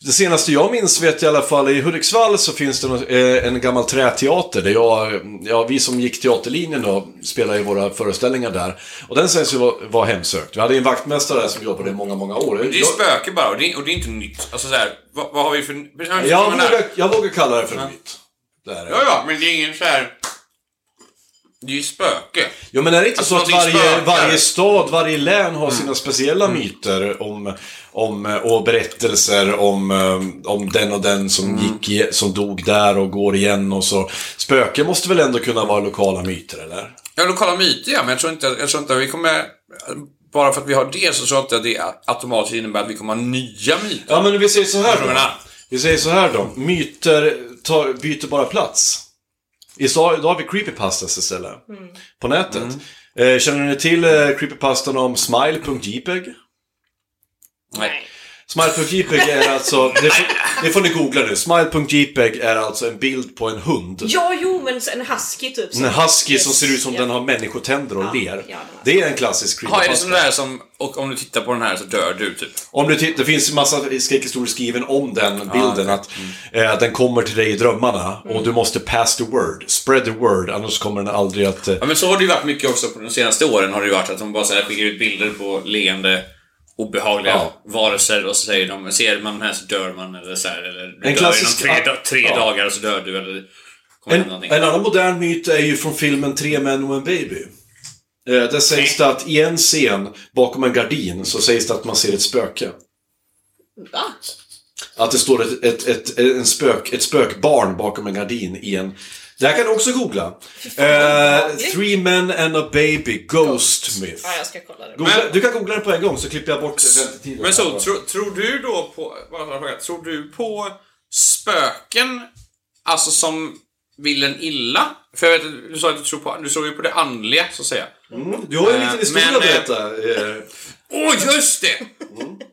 Det senaste jag minns vet jag i alla fall, i Hudiksvall så finns det någon, eh, en gammal träteater där jag, ja vi som gick teaterlinjen då spelade ju våra föreställningar där. Och den sägs ju vara, vara hemsökt. Vi hade ju en vaktmästare där som jobbade i många, många år. Det är Jag- spöke bara och det, är- och det är inte nytt. Alltså så här, vad, vad har vi för... vad har vi för jag, sådana här? vågar, jag vågar kalla det för en myt. Det är det. Ja, ja, men det är ingen så här... Det är ju spöke. Jo men är det inte Alltså, så att någonting varje, spökar. varje stad, varje län har sina speciella myter om, om, eh, och berättelser om, eh, om den och den som, gick, i- som dog där och går igen och så. Spöken måste väl ändå kunna vara lokala myter eller? Ja, lokala myter ja, men jag tror inte, jag tror inte vi kommer... Bara för att vi har det så tror jag inte att det automatiskt innebär att vi kommer ha nya myter. ah, Ja men vi säger så här Jag då. menar. Vi säger så här då. Myter tar, byter bara plats. Idag, idag har vi creepypastas istället. På nätet. Eh, känner ni till eh, creepypastan om smile.jpg? Nej. Smile.jpg är alltså, det får, det får ni googla nu, smile.jpg är alltså en bild på en hund. Ja, jo, men en husky typ. En husky som Yes, ser ut som ja. den har människotänder och ja, ler. den har- Det är en klassisk Ja, är det som creepypasta. det här som, och om du tittar på den här så dör du typ? Om du tittar, det finns en massa skräckhistorier skriven om den bilden. Att eh, den kommer till dig i drömmarna Mm. och du måste pass the word. Spread the word, annars kommer den aldrig att... Eh, Ja men så har det ju varit mycket också på de senaste åren har det ju varit att de bara så här skickar ut bilder på leende obehagliga Ja. varelser och så säger de ser man den här så dör man eller så här, eller du dör klassisk- inom tre, ja. da- tre Ja. dagar så dör du eller kommer hända en, någonting. en annan modern myt är ju från filmen Tre män och en baby. Eh, där sägs det att i en scen, bakom en gardin, så sägs det att man ser ett spöke. Va? Att det står ett, ett, ett, en spök, ett spökbarn bakom en gardin i en... Det här kan du också googla. Eh, Three men and a baby, ghost myth. Ja, jag ska kolla det. Googla, du kan googla den på en gång så klipper jag bort väntetiden. Men så, tro, tror du då på, bara en fråga, tror du på spöken, alltså som vill en illa? För jag vet att du sa att du tror på, du tror ju på det andliga så att säga. Du har ju en liten Eh, historia men, att eh, berätta. eh, Åh just det!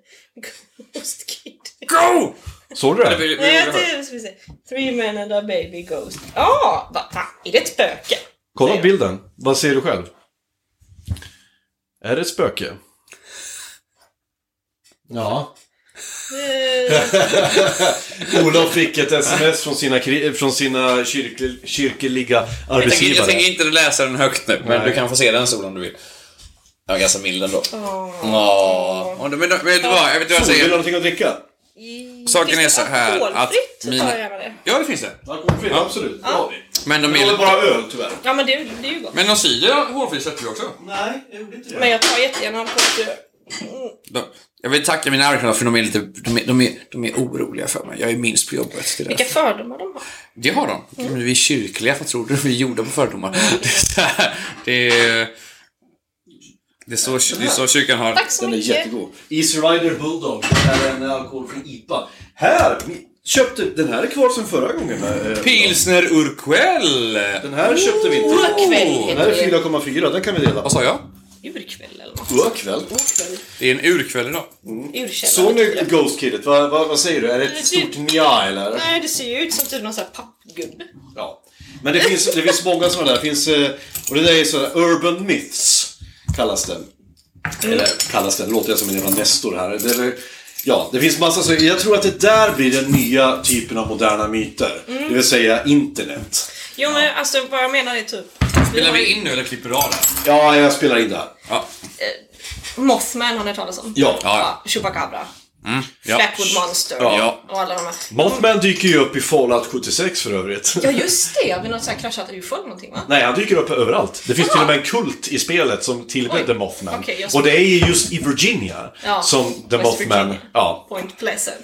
Ghost Kid. Go! Såg du det? Vi- vi gjorde Nej, jag det. tänkte- Eh, ska vi se. Three men and a baby ghost. Ja, vad fan, är det ett spöke? Kolla på bilden. Vad ser du själv? Är det ett spöke? Ja. Eh, Eh. Olof fick ett sms från sina, kri- eh, från sina kyrkli, kyrkliga Jag tänker, jag arbetsgivare. tänker inte läsa den högt nu, men Nej. du kan få se den solen om du vill. Jag var ganska mild ändå. ja. Åh. Men, men vet du vad? Jag vet du vad jag Sol, vill du ha säger? någonting att dricka? Saken är så här att... Alkoholfritt tar mina- jag gärna det. Ja, det finns det. Alkoholfritt, absolut. Ja. Men de, Jag håller är... bara öl, tyvärr. Ja, men det, det är ju gott. men de syr hårfri sätter vi också. Nej, jag gjorde inte det. Men jag tar jättegärna alkoholfritt. De... Jag vill tacka mina arbetskamrater för de är, lite... de, är, de, är, de är oroliga för mig. Jag är minst på jobbet. Det, är Vilka Mm. därför. fördomar de har. det har de. Men vi är kyrkliga, vad tror du? Vi är gjorda på fördomar. Mm. Det är så, här. Det är... Det är så, det är så kyrkan har... Tack så Den är mycket. jättegod. Easy Rider Bulldog. Det här är en alkoholfri IPA. Här! vi Köpte, den här är kvar sen förra gången. eh, Pilsner Urquell! Den här köpte vi inte. Urkväll Den här heter är det. 4,4. Den kan vi dela. Vad sa jag? Urkväll eller något. Urkväll. Det är en urkväll idag. Urkällare. Såg ni Ghost Kidet? Vad, vad, vad säger du? Är det ett stort nja eller? Nej, det ser ju ut som typ någon sån här pappgubbe. Ja. Men det finns, det finns många sådana där. Det finns, eh, och det där är sådana urban myths. Kallas den. Eller kallas den. Låter jag som en jävla nestor här. Det, är- ja, det finns massa så Jag tror att det där blir den nya typen av moderna myter. Mm. Det vill säga internet. Jo, men alltså vad jag menar är typ... Spelar har vi ju- in nu eller klipper du av det? här? Ja, jag spelar in det här. Ja. Mothman har ni hört talas om. Ja. ja. Chupacabra. Ja. Flatwood Monster. Ja. Och alla de här. Mothman dyker ju upp i Fallout 76 för övrigt. Ja, just det. Vid något sånt här kraschat ufo eller någonting, va? Nej, han dyker upp överallt. Det finns Ja. till och med en kult i spelet som tillbedde Oj. Mothman. Okej, jag ska- och det är ju just i Virginia Ja. som The West Mothman... Virginia. Ja. Point Pleasant.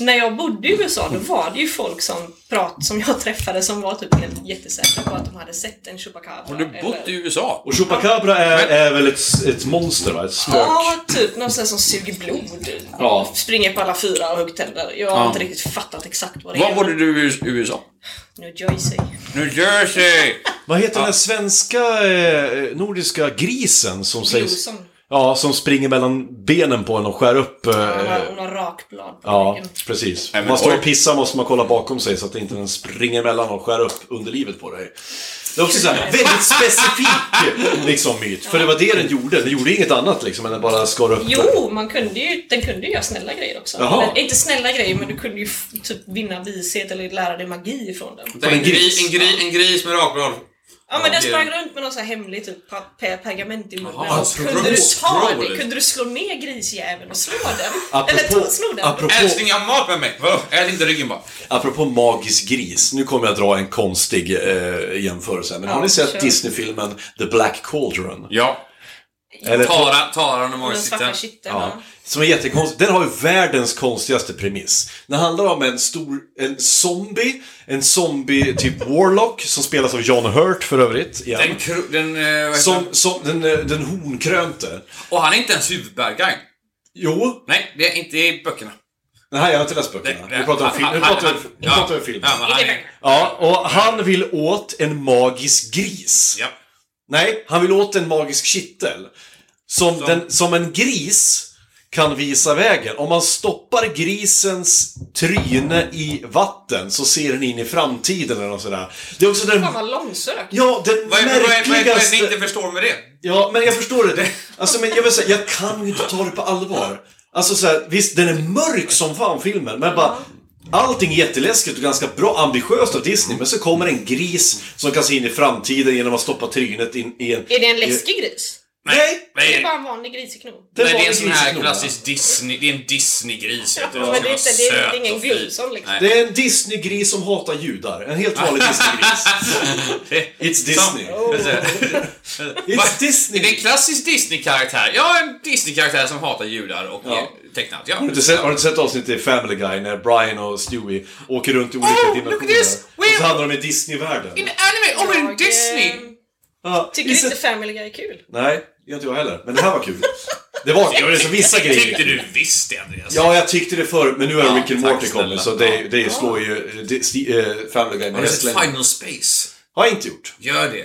När jag bodde i USA då var det ju folk som prat, som jag träffade som var typ helt jättesäkra på att de hade sett en Chupacabra. Har du bott i USA? Och Chupacabra är, är väl ett, ett monster, va? Ett spök. Ja, typ någon sån här som suger blod. Ja. Springer på alla fyra och hugger tänder. Jag har inte riktigt fattat exakt vad det Var är. bodde du i USA? New Jersey. New Jersey! Vad heter den här svenska, eh, nordiska grisen som sägs... Joson. Ja, som springer mellan benen på en och skär upp... Eh, Hon har, hon har rakblad på ja, ryggen. precis. Nej, Om men man står oj. och pissar måste man kolla bakom sig så att inte den springer mellan och skär upp underlivet på dig. Det är också så här, väldigt specifik liksom, myt. För det var det den gjorde. Den gjorde inget annat liksom, än den bara skar upp. Jo, man kunde ju, den kunde ju göra snälla grejer också. Jaha. Eller, inte snälla grejer, men du kunde ju f- typ vinna vishet eller lära dig magi ifrån den. En, gris. En, gris, en gris med rakblad. Ja men den Okej. sprang runt med någon sån här hemlig typ pa- pe- pergament i munnen. Jaha, kunde du scroll- ta scroll. det? Kunde du slå ner grisjäveln och slå den? Apropå- Eller ta, sno den? apropå- Älskling, jag har mat med mig! Vadå? Ät inte ryggen bara. Apropå magisk gris, nu kommer jag dra en konstig eh, jämförelse. Men har ni sett kör. Disney-filmen The Black Cauldron? Ja. Eller- Tara, Tara och Den svarta magsikten. kitteln. Ja, Ja. som är jättekonstig. Den har ju världens konstigaste premiss. Den handlar om en stor, en zombie, en zombie typ Warlock som spelas av John Hurt för övrigt. igen. Den, kro- den, eh, vad heter som, den? som den, eh, den hornkrönte. Och han är inte ens huvudbad guy. Jo, Nej, det är inte i böckerna. nej jag har inte läst Det, böckerna. det- Vi pratar om film. Nu pratar vi- nu Ja. pratar vi om film. Ja, men han Är det är... Ja, och han vill åt en magisk gris. Ja. Nej, han vill åt en magisk kittel. Som, Den, som en gris kan visa vägen. Om man stoppar grisens tryne i vatten så ser den in i framtiden eller något sådär. Det är också den... Fan vad långsökt. Ja, den Vad är vad är- vad är- vad är det ni inte märkligaste... förstår med det? Ja, men jag förstår det. Alltså, men jag vill säga, jag kan ju inte ta det på allvar. Alltså så här, visst, den är mörk som fan filmen, men bara... Allting är jätteläskigt och ganska bra, ambitiöst av Disney, men så kommer en gris som kan se in i framtiden genom att stoppa trynet in i en... Är det en läskig gris? Nej! Det är Nej, bara en vanlig griseknog. nej, det är en sån gris i här knogarna. klassisk Disney... Det är en Disney-gris. vet du. men det är inte- det är Söt och ingen fin. Gulson, liksom. Nej. Det är en Disney-gris som hatar judar. En helt vanlig Disney-gris. It's Disney. Va? It's Disney. Oh. Är det en klassisk Disney-karaktär? Ja, en Disney-karaktär som hatar judar och Ja. är tecknat. Ja. Har du inte sett, har du inte sett avsnittet i Family Guy när Brian och Stewie åker runt i olika Oh, look at dimensioner? this! Och så We're- hamnar de i Disney-världen. In anime! Oh, men Jag, Disney! eh, Ja, Tycker it's a- inte Family Guy är kul? Nej, det gör inte jag heller. Men det här var kul. Det var kul. Det var så vissa Tyckte grejer. du visst det, Andreas? Ja, jag tyckte det förr, men nu har Ja, Rick and tack Morty kommit snälla. så det, det slår ju eh, Dis- eh, Family Guy med Har du sett hästlängder. Final Space? Har jag inte gjort. Gör det.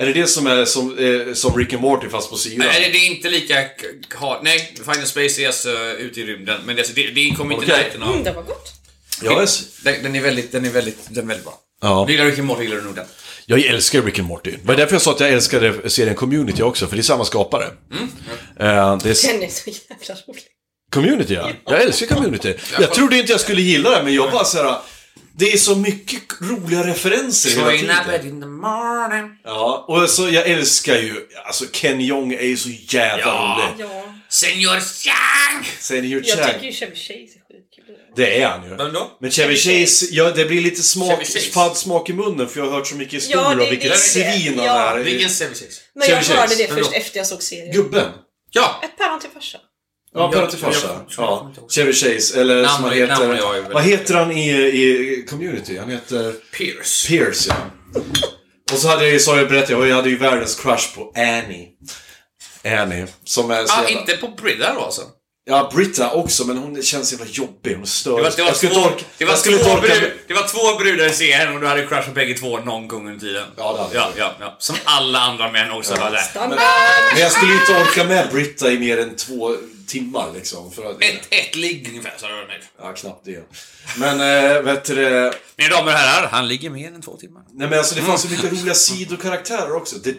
Är det det som är som, eh, som Rick and Morty fast på syra? Nej, det är inte lika k- hard. Nej, Final Space är alltså ute i rymden, men det, alltså, det, det kommer inte i Okej. närheten Mm, av... det var gott. Jag, är- Den, den är väldigt, den är väldigt, den är väldigt bra. Ja. Du gillar Rick and Morty, gillar du nog den. Jag älskar Rick and Morty. Det var därför jag sa att jag älskade serien Community också, för det är samma skapare. Mm. Eh, det är Den är så jävla rolig. community, ja. Jag älskar Community. Jag trodde inte jag skulle gilla det, men jag bara så här. Det är så mycket roliga referenser hela Join tiden. up at in the morning. Ja, och så jag älskar ju... Alltså, Ken Jeong är ju så jävla Ja. rolig. Ja. Senior Chang! Senior Jag Chang. tycker ju Chevy Chase är skitkul. Det är han ju. Vem då? Men Chevy Chase, ja, det blir lite smak, Chevy Chase. fadd smak i munnen för jag har hört så mycket historier Ja, det- om vilket det- svin han ja. är. Vilken service? Men jag Chevy Chase, hörde det men då- först efter jag såg serien. Gubben. Ja! Ett päron till farsa. Ja, Jag- Pöra till jag- farsa. jag- jag kommer Ja. inte ihåg. Chevy Chase, eller Namn- som han namn jag är heter... väldigt- Vad heter han i, i Community? Han heter Pierce. Pierce, ja. Och så hade jag ju, sa jag berättade jag, jag hade ju världens crush på Annie. Annie, som är så Ah, jävla... inte på Brida då alltså? Ja, Britta också, men hon känns så jävla jobbig. Hon stör. Det var, det var, jag skulle två, torka... det var, jag skulle två, torka... brud, det var två brudar i serien och du hade crush på bägge två någon gång under tiden. Ja, det hade ja, jag. ja, ja. Som alla andra män också. Bara, där. Standard. Men jag skulle inte orka med Britta i mer än två timmar liksom. För att... ett, ett ligg ungefär, sa du varit nöjd. Ja, knappt det. Men, äh, vet du det... Mina damer och herrar, han ligger mer än två timmar. Nej men alltså det fanns så mycket Mm. roliga sidokaraktärer också. The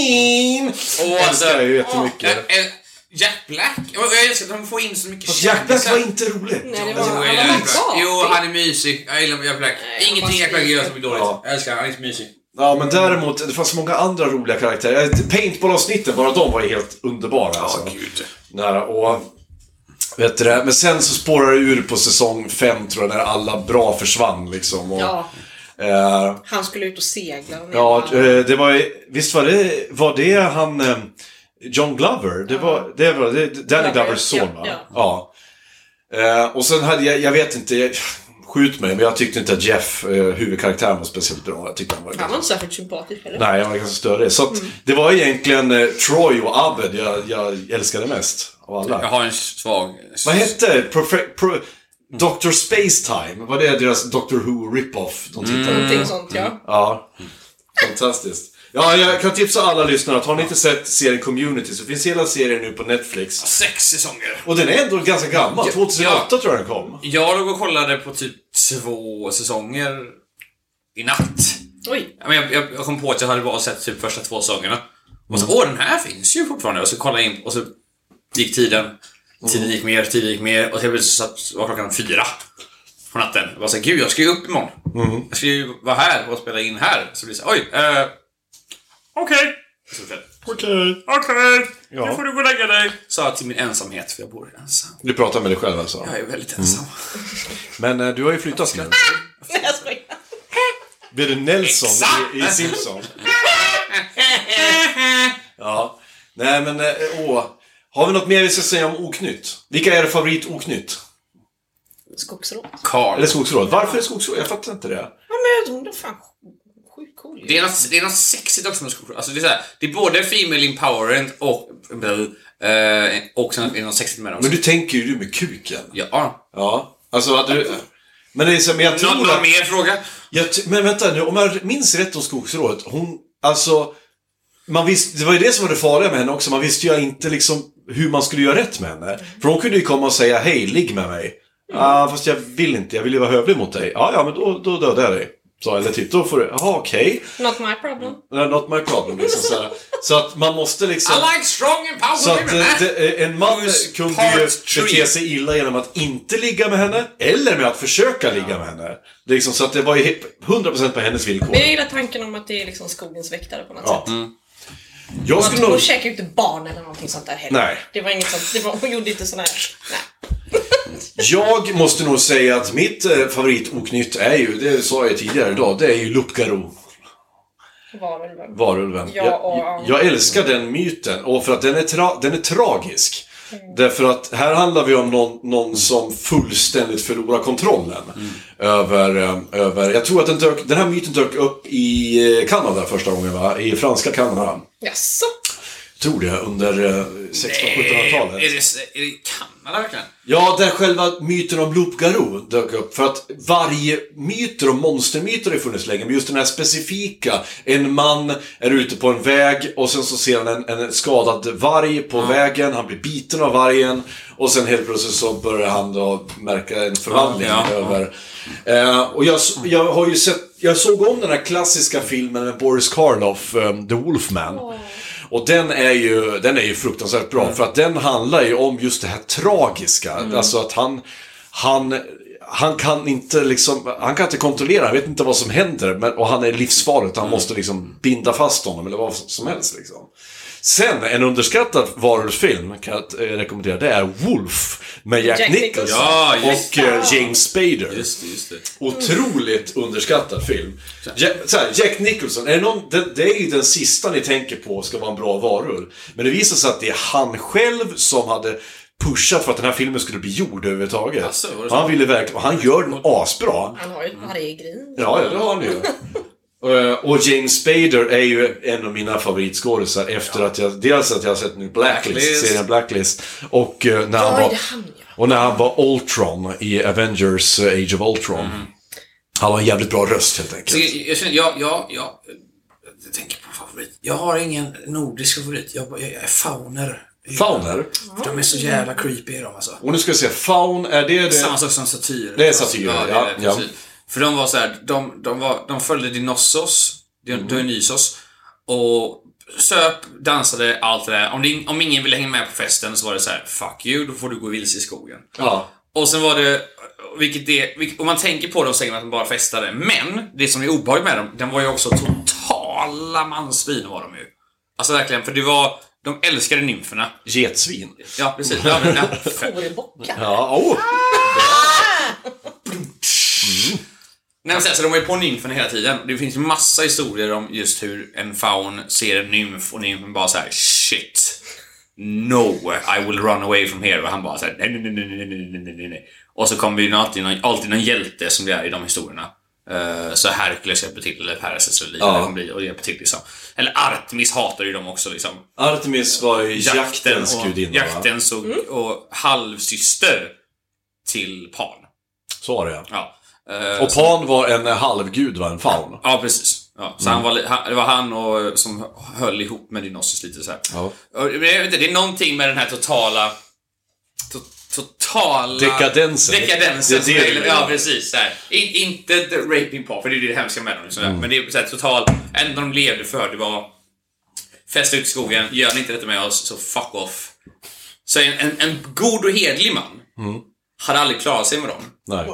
Dean! Åh, älskar jag ju jättemycket. Äh, äh, Jack Black? Jag jag älskar att de får in så mycket Fast Jack Black var inte rolig. Nej, det var... Jo, Han jag gillar var Jack Black. gapig. Jo, han är mysig. Jag gillar Jack Black. han Ingenting var Jack Black gör som är skriven. dåligt. Ja. Jag älskar honom, han är så mysig. Ja men däremot, det fanns många andra roliga karaktärer. Eh, Paintball-avsnitten, bara de var ju helt underbara. alltså. gud. Nära och... Vet du det? Men sen så spårar det ur på säsong 5 tror jag, när alla bra försvann liksom. Och, Ja, eh, han skulle ut och segla. och ja, han- eh, det var ju- Visst var det, var det han... eh, John Glover? Det var, det var det, Danny Ja, Glovers son ja, va? ja. Ja. Eh, och sen hade jag, jag vet inte, jag, skjut mig, men jag tyckte inte att Jeff, eh, huvudkaraktären, var speciellt bra. Jag tyckte han var Han var inte Mm. särskilt sympatisk heller. Nej, jag var ganska större. Så att det var egentligen eh, Troy och Abed jag, jag älskade mest av alla. Jag har en svag... Vad hette Profe- Pro- Dr. Spacetime? Var det deras Doctor Who rip-off de tittade på? Någonting sånt ja. Mm. Ja. Fantastiskt. Ja, jag kan tipsa alla lyssnare att har ni inte sett serien Community så finns hela serien nu på Netflix. Sex säsonger. Och den är ändå ganska gammal. 2008 tror jag den kom. Jag låg och kollade på typ två säsonger i natt. Oj. Ja, men Jag, jag, jag kom på att jag hade bara sett typ första två säsongerna. Och så, åh den här finns ju fortfarande. Och så kollade jag in och så gick tiden. Tiden gick mer, tiden gick mer. Och helt plötsligt så satt- var klockan fyra på natten. Jag bara såhär, gud jag ska ju upp imorgon. Jag ska ju vara här och spela in här. Så blir det såhär, oj, eh, okej. Så blev det, Okej. Okej, Ja. nu får du gå och lägga dig. Sa jag till min ensamhet, för jag bor ensam. Du pratar med dig själv alltså. Jag är väldigt ensam. Men eh, du har ju flyttat nu. Nej, jag skojar. Blir du Nelson Exakt. i, i Simpson? ja. Nej men, eh, åh. Har vi något mer vi ska säga om oknytt? Vilka är favorit oknytt? Skogsråt. Karl. Eller skogsråd? Varför är skogsråd? Jag fattar inte det. Ja, men jag- de är fan sjukt cool ju. Det är, något, det är något sexigt också med skogsråd. Alltså det, är så här, det är både female empowerment och... eh, och sen är det något sexigt med dem. Men du tänker ju du med kuken. Ja. Ja. Alltså att du... Men det är så, men jag tror Någon, någon att... mer fråga? Jag, ty- men vänta nu, om jag minns rätt om skogsrået. Hon, alltså... Man visste, det var ju det som var det farliga med henne också. Man visste ju inte liksom hur man skulle göra rätt med henne. För hon kunde ju komma och säga hej, ligg med mig. Ah, fast jag vill inte, jag vill ju vara hövlig mot dig. Ja, ja, men då, då dödar jag dig. Så, eller typ, då får du, jaha okej. Not my problem. Okay. Not my problem liksom så, här. så att man måste liksom... I like strong and Så powerful att women! eh, det, eh, en man Who's kunde part ju three? bete sig illa genom att inte ligga med henne, eller med att försöka ligga med henne. Det är Liksom, så att det var ju he- 100% på hennes villkor. Men jag gillar tanken om att det är liksom skogens väktare på något Ja. Mm. sätt. Jag Hon, skulle hon nog... käkar ju inte barn eller någonting sånt där heller. Nej. Det var inget sånt. Det var, hon gjorde inte sån här... Nej. Jag måste nog säga att mitt eh, favoritoknytt är ju, det sa jag tidigare idag, det är ju Lupgaro. Varulven. Varulven. Ja, och- jag, jag älskar den myten, och för att den är, tra- den är tragisk. Mm. Därför att här handlar vi om någon, någon som fullständigt förlorar kontrollen. Mm. Över, eh, över, jag tror att den, dök, den här myten dök upp i eh, Kanada första gången, va? i franska Kanada. Jaså? Tror det, under eh, 1600-1700-talet. Är det, är det Kanada verkligen? Ja, där själva myten om Loop Garou dök upp. För att varje myter och monstermyter har ju funnits länge, men just den här specifika. En man är ute på en väg och sen så ser han en, en skadad varg på vägen, han blir biten av vargen. Och sen helt plötsligt så börjar han då märka en förvandling Ja, ja. över. Eh, och jag, s- jag har ju sett, jag såg om den här klassiska filmen med Boris Karloff, eh, The Wolfman. Och den är, ju, den är ju fruktansvärt Mm. bra, för att den handlar ju om just det här tragiska. Alltså att han, han, han kan inte liksom, han kan inte kontrollera, han vet inte vad som händer. Men, och han är livsfarlig, Mm. han måste liksom binda fast honom eller vad som helst liksom. Sen, en underskattad varulvsfilm kan jag eh, rekommendera, det är Wolf med Jack, Jack Nicholson Nicholson. Ja, just och eh, James Spader. Just det, just det. Otroligt underskattad film. Ja, så här, Jack Nicholson, är det, någon, det, det är ju den sista ni tänker på ska vara en bra varulv. Men det visar sig att det är han själv som hade pushat för att den här filmen skulle bli gjord överhuvudtaget. Asså, Alltså, var det så? han ville verkligen, och han gör den asbra. Han har ju ett varggrin. Ja, ja, det har han ju. Eh, Och James Spader är ju en av mina favoritskådisar efter att jag, dels att jag har sett nu Blacklist, Blacklist. serien Blacklist, och eh, när han Ja, var... är det han ja. Och när han var Ultron i Avengers eh, Age of Ultron. Mm. Han har en jävligt bra röst helt Så enkelt. jag, jag känner, ja, ja, ja. Jag tänker på favorit. Jag har ingen nordisk favorit. Jag, jag, jag är fauner. Fauner? För De är så jävla creepy de alltså. Och nu ska vi se, Faun, är det det? Samma sak som satir. Det är satir, det ja, är det, ja. precis. För de var så här, de, de, var, de följde Dionysos, Mhm. Dion- Dionysos och söp, dansade, allt det där. Om, det, om ingen ville hänga med på festen så var det så här, fuck you, då får du gå vilse i skogen. Ja. Och sen var det, vilket det, vilket, om man tänker på dem så säger man att de bara festade. Men, det som är obehagligt med dem, den var ju också totala mansvin var de ju. Alltså verkligen, för det var, de älskade nymferna. Getsvin. Ja, precis. Ja, men, ja. Fårbockar. Ja, åh! Nej, men sen, så de är på nymfen hela tiden. Det finns ju massa historier om just hur en faun ser en nymf och nymfen bara så här: shit. No, I will run away from here. Och han bara såhär, nej, nej, nej, nej, nej, nej, nej, nej, nej. Och så kommer ju alltid någon, alltid någon hjälte som det är i de historierna. Eh, så Herkules hjälper till, eller Perseus eller liknande Ja. kommer bli och hjälper till liksom. Eller Artemis hatar ju dem också liksom. Artemis var ju jaktens och, gudinna, va? jaktens och, och halvsyster till Pan. Så var det ja. Ja. Eh, Och Pan var en eh, halvgud, va? En faun. Ja, precis. Ja, så Mm. han var, li- han, det var han och, som höll ihop med Dionysos lite så här. Ja. Och, men jag vet inte, det är någonting med den här totala... To, totala... Dekadensen. Dekadensen. Det är det som du ja, menar. precis. Så här. In, inte the raping par, för det är det hemska med dem. Liksom, Mm. Men det är så här, total... Enda de levde för, det var... Festa ut i skogen, gör ni inte detta med oss, så fuck off. Så en, en, en god och hedlig man Mm. hade aldrig klarat sig med dem. Nej.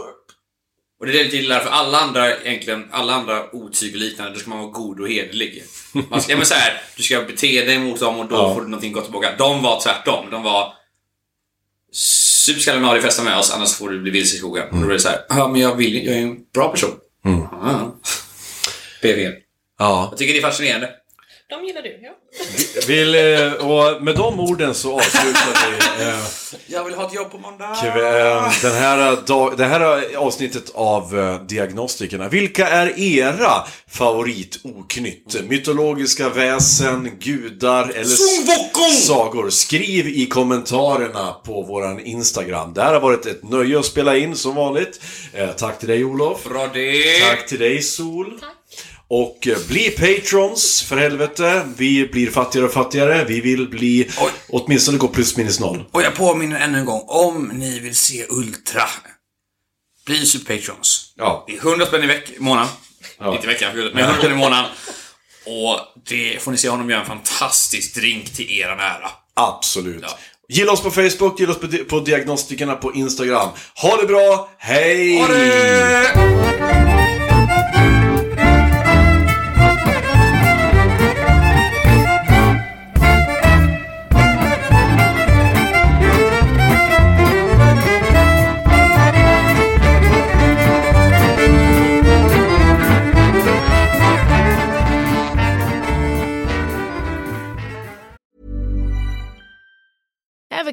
Och det är det jag inte gillar, för alla andra egentligen, alla andra otyg och liknande, då ska man vara god och hederlig. Man ska, ja, men så här, du ska bete dig mot dem och då Ja. får du någonting gott tillbaka. De var tvärtom. De var Sup skallen av dig, festa med oss, annars får du bli vilse i skogen. Mm. Och då blir det så här, ja men jag vill jag är en bra person. Ja. BV. Ja. Jag tycker det är fascinerande. De gillar du, ja. Vill, eh, och med de orden så avslutar vi eh, Jag vill ha ett jobb på måndag. kväll- den här, eh, dag, det här avsnittet av eh, Diagnostikerna. Vilka är era favoritoknytt? Mytologiska väsen, gudar eller s- sagor? Skriv i kommentarerna på våran Instagram. Det här har varit ett nöje att spela in som vanligt. Eh, Tack till dig Olof. Bra det. Tack till dig Sol. Och eh, bli patrons, för helvete. Vi blir fattigare och fattigare. Vi vill bli, Oj. åtminstone gå plus minus noll. Och jag påminner ännu en gång, om ni vill se Ultra, bli superpatrons. Ja. Det är 100 spänn i veck- månaden. Inte i veckan, förlåt, men 100 spänn i månaden. Och det får ni se honom göra en fantastisk drink till er ära. Absolut. Ja. Gilla oss på Facebook, gilla oss på, di- på Diagnostikerna på Instagram. Ha det bra, hej! Ha det! Ever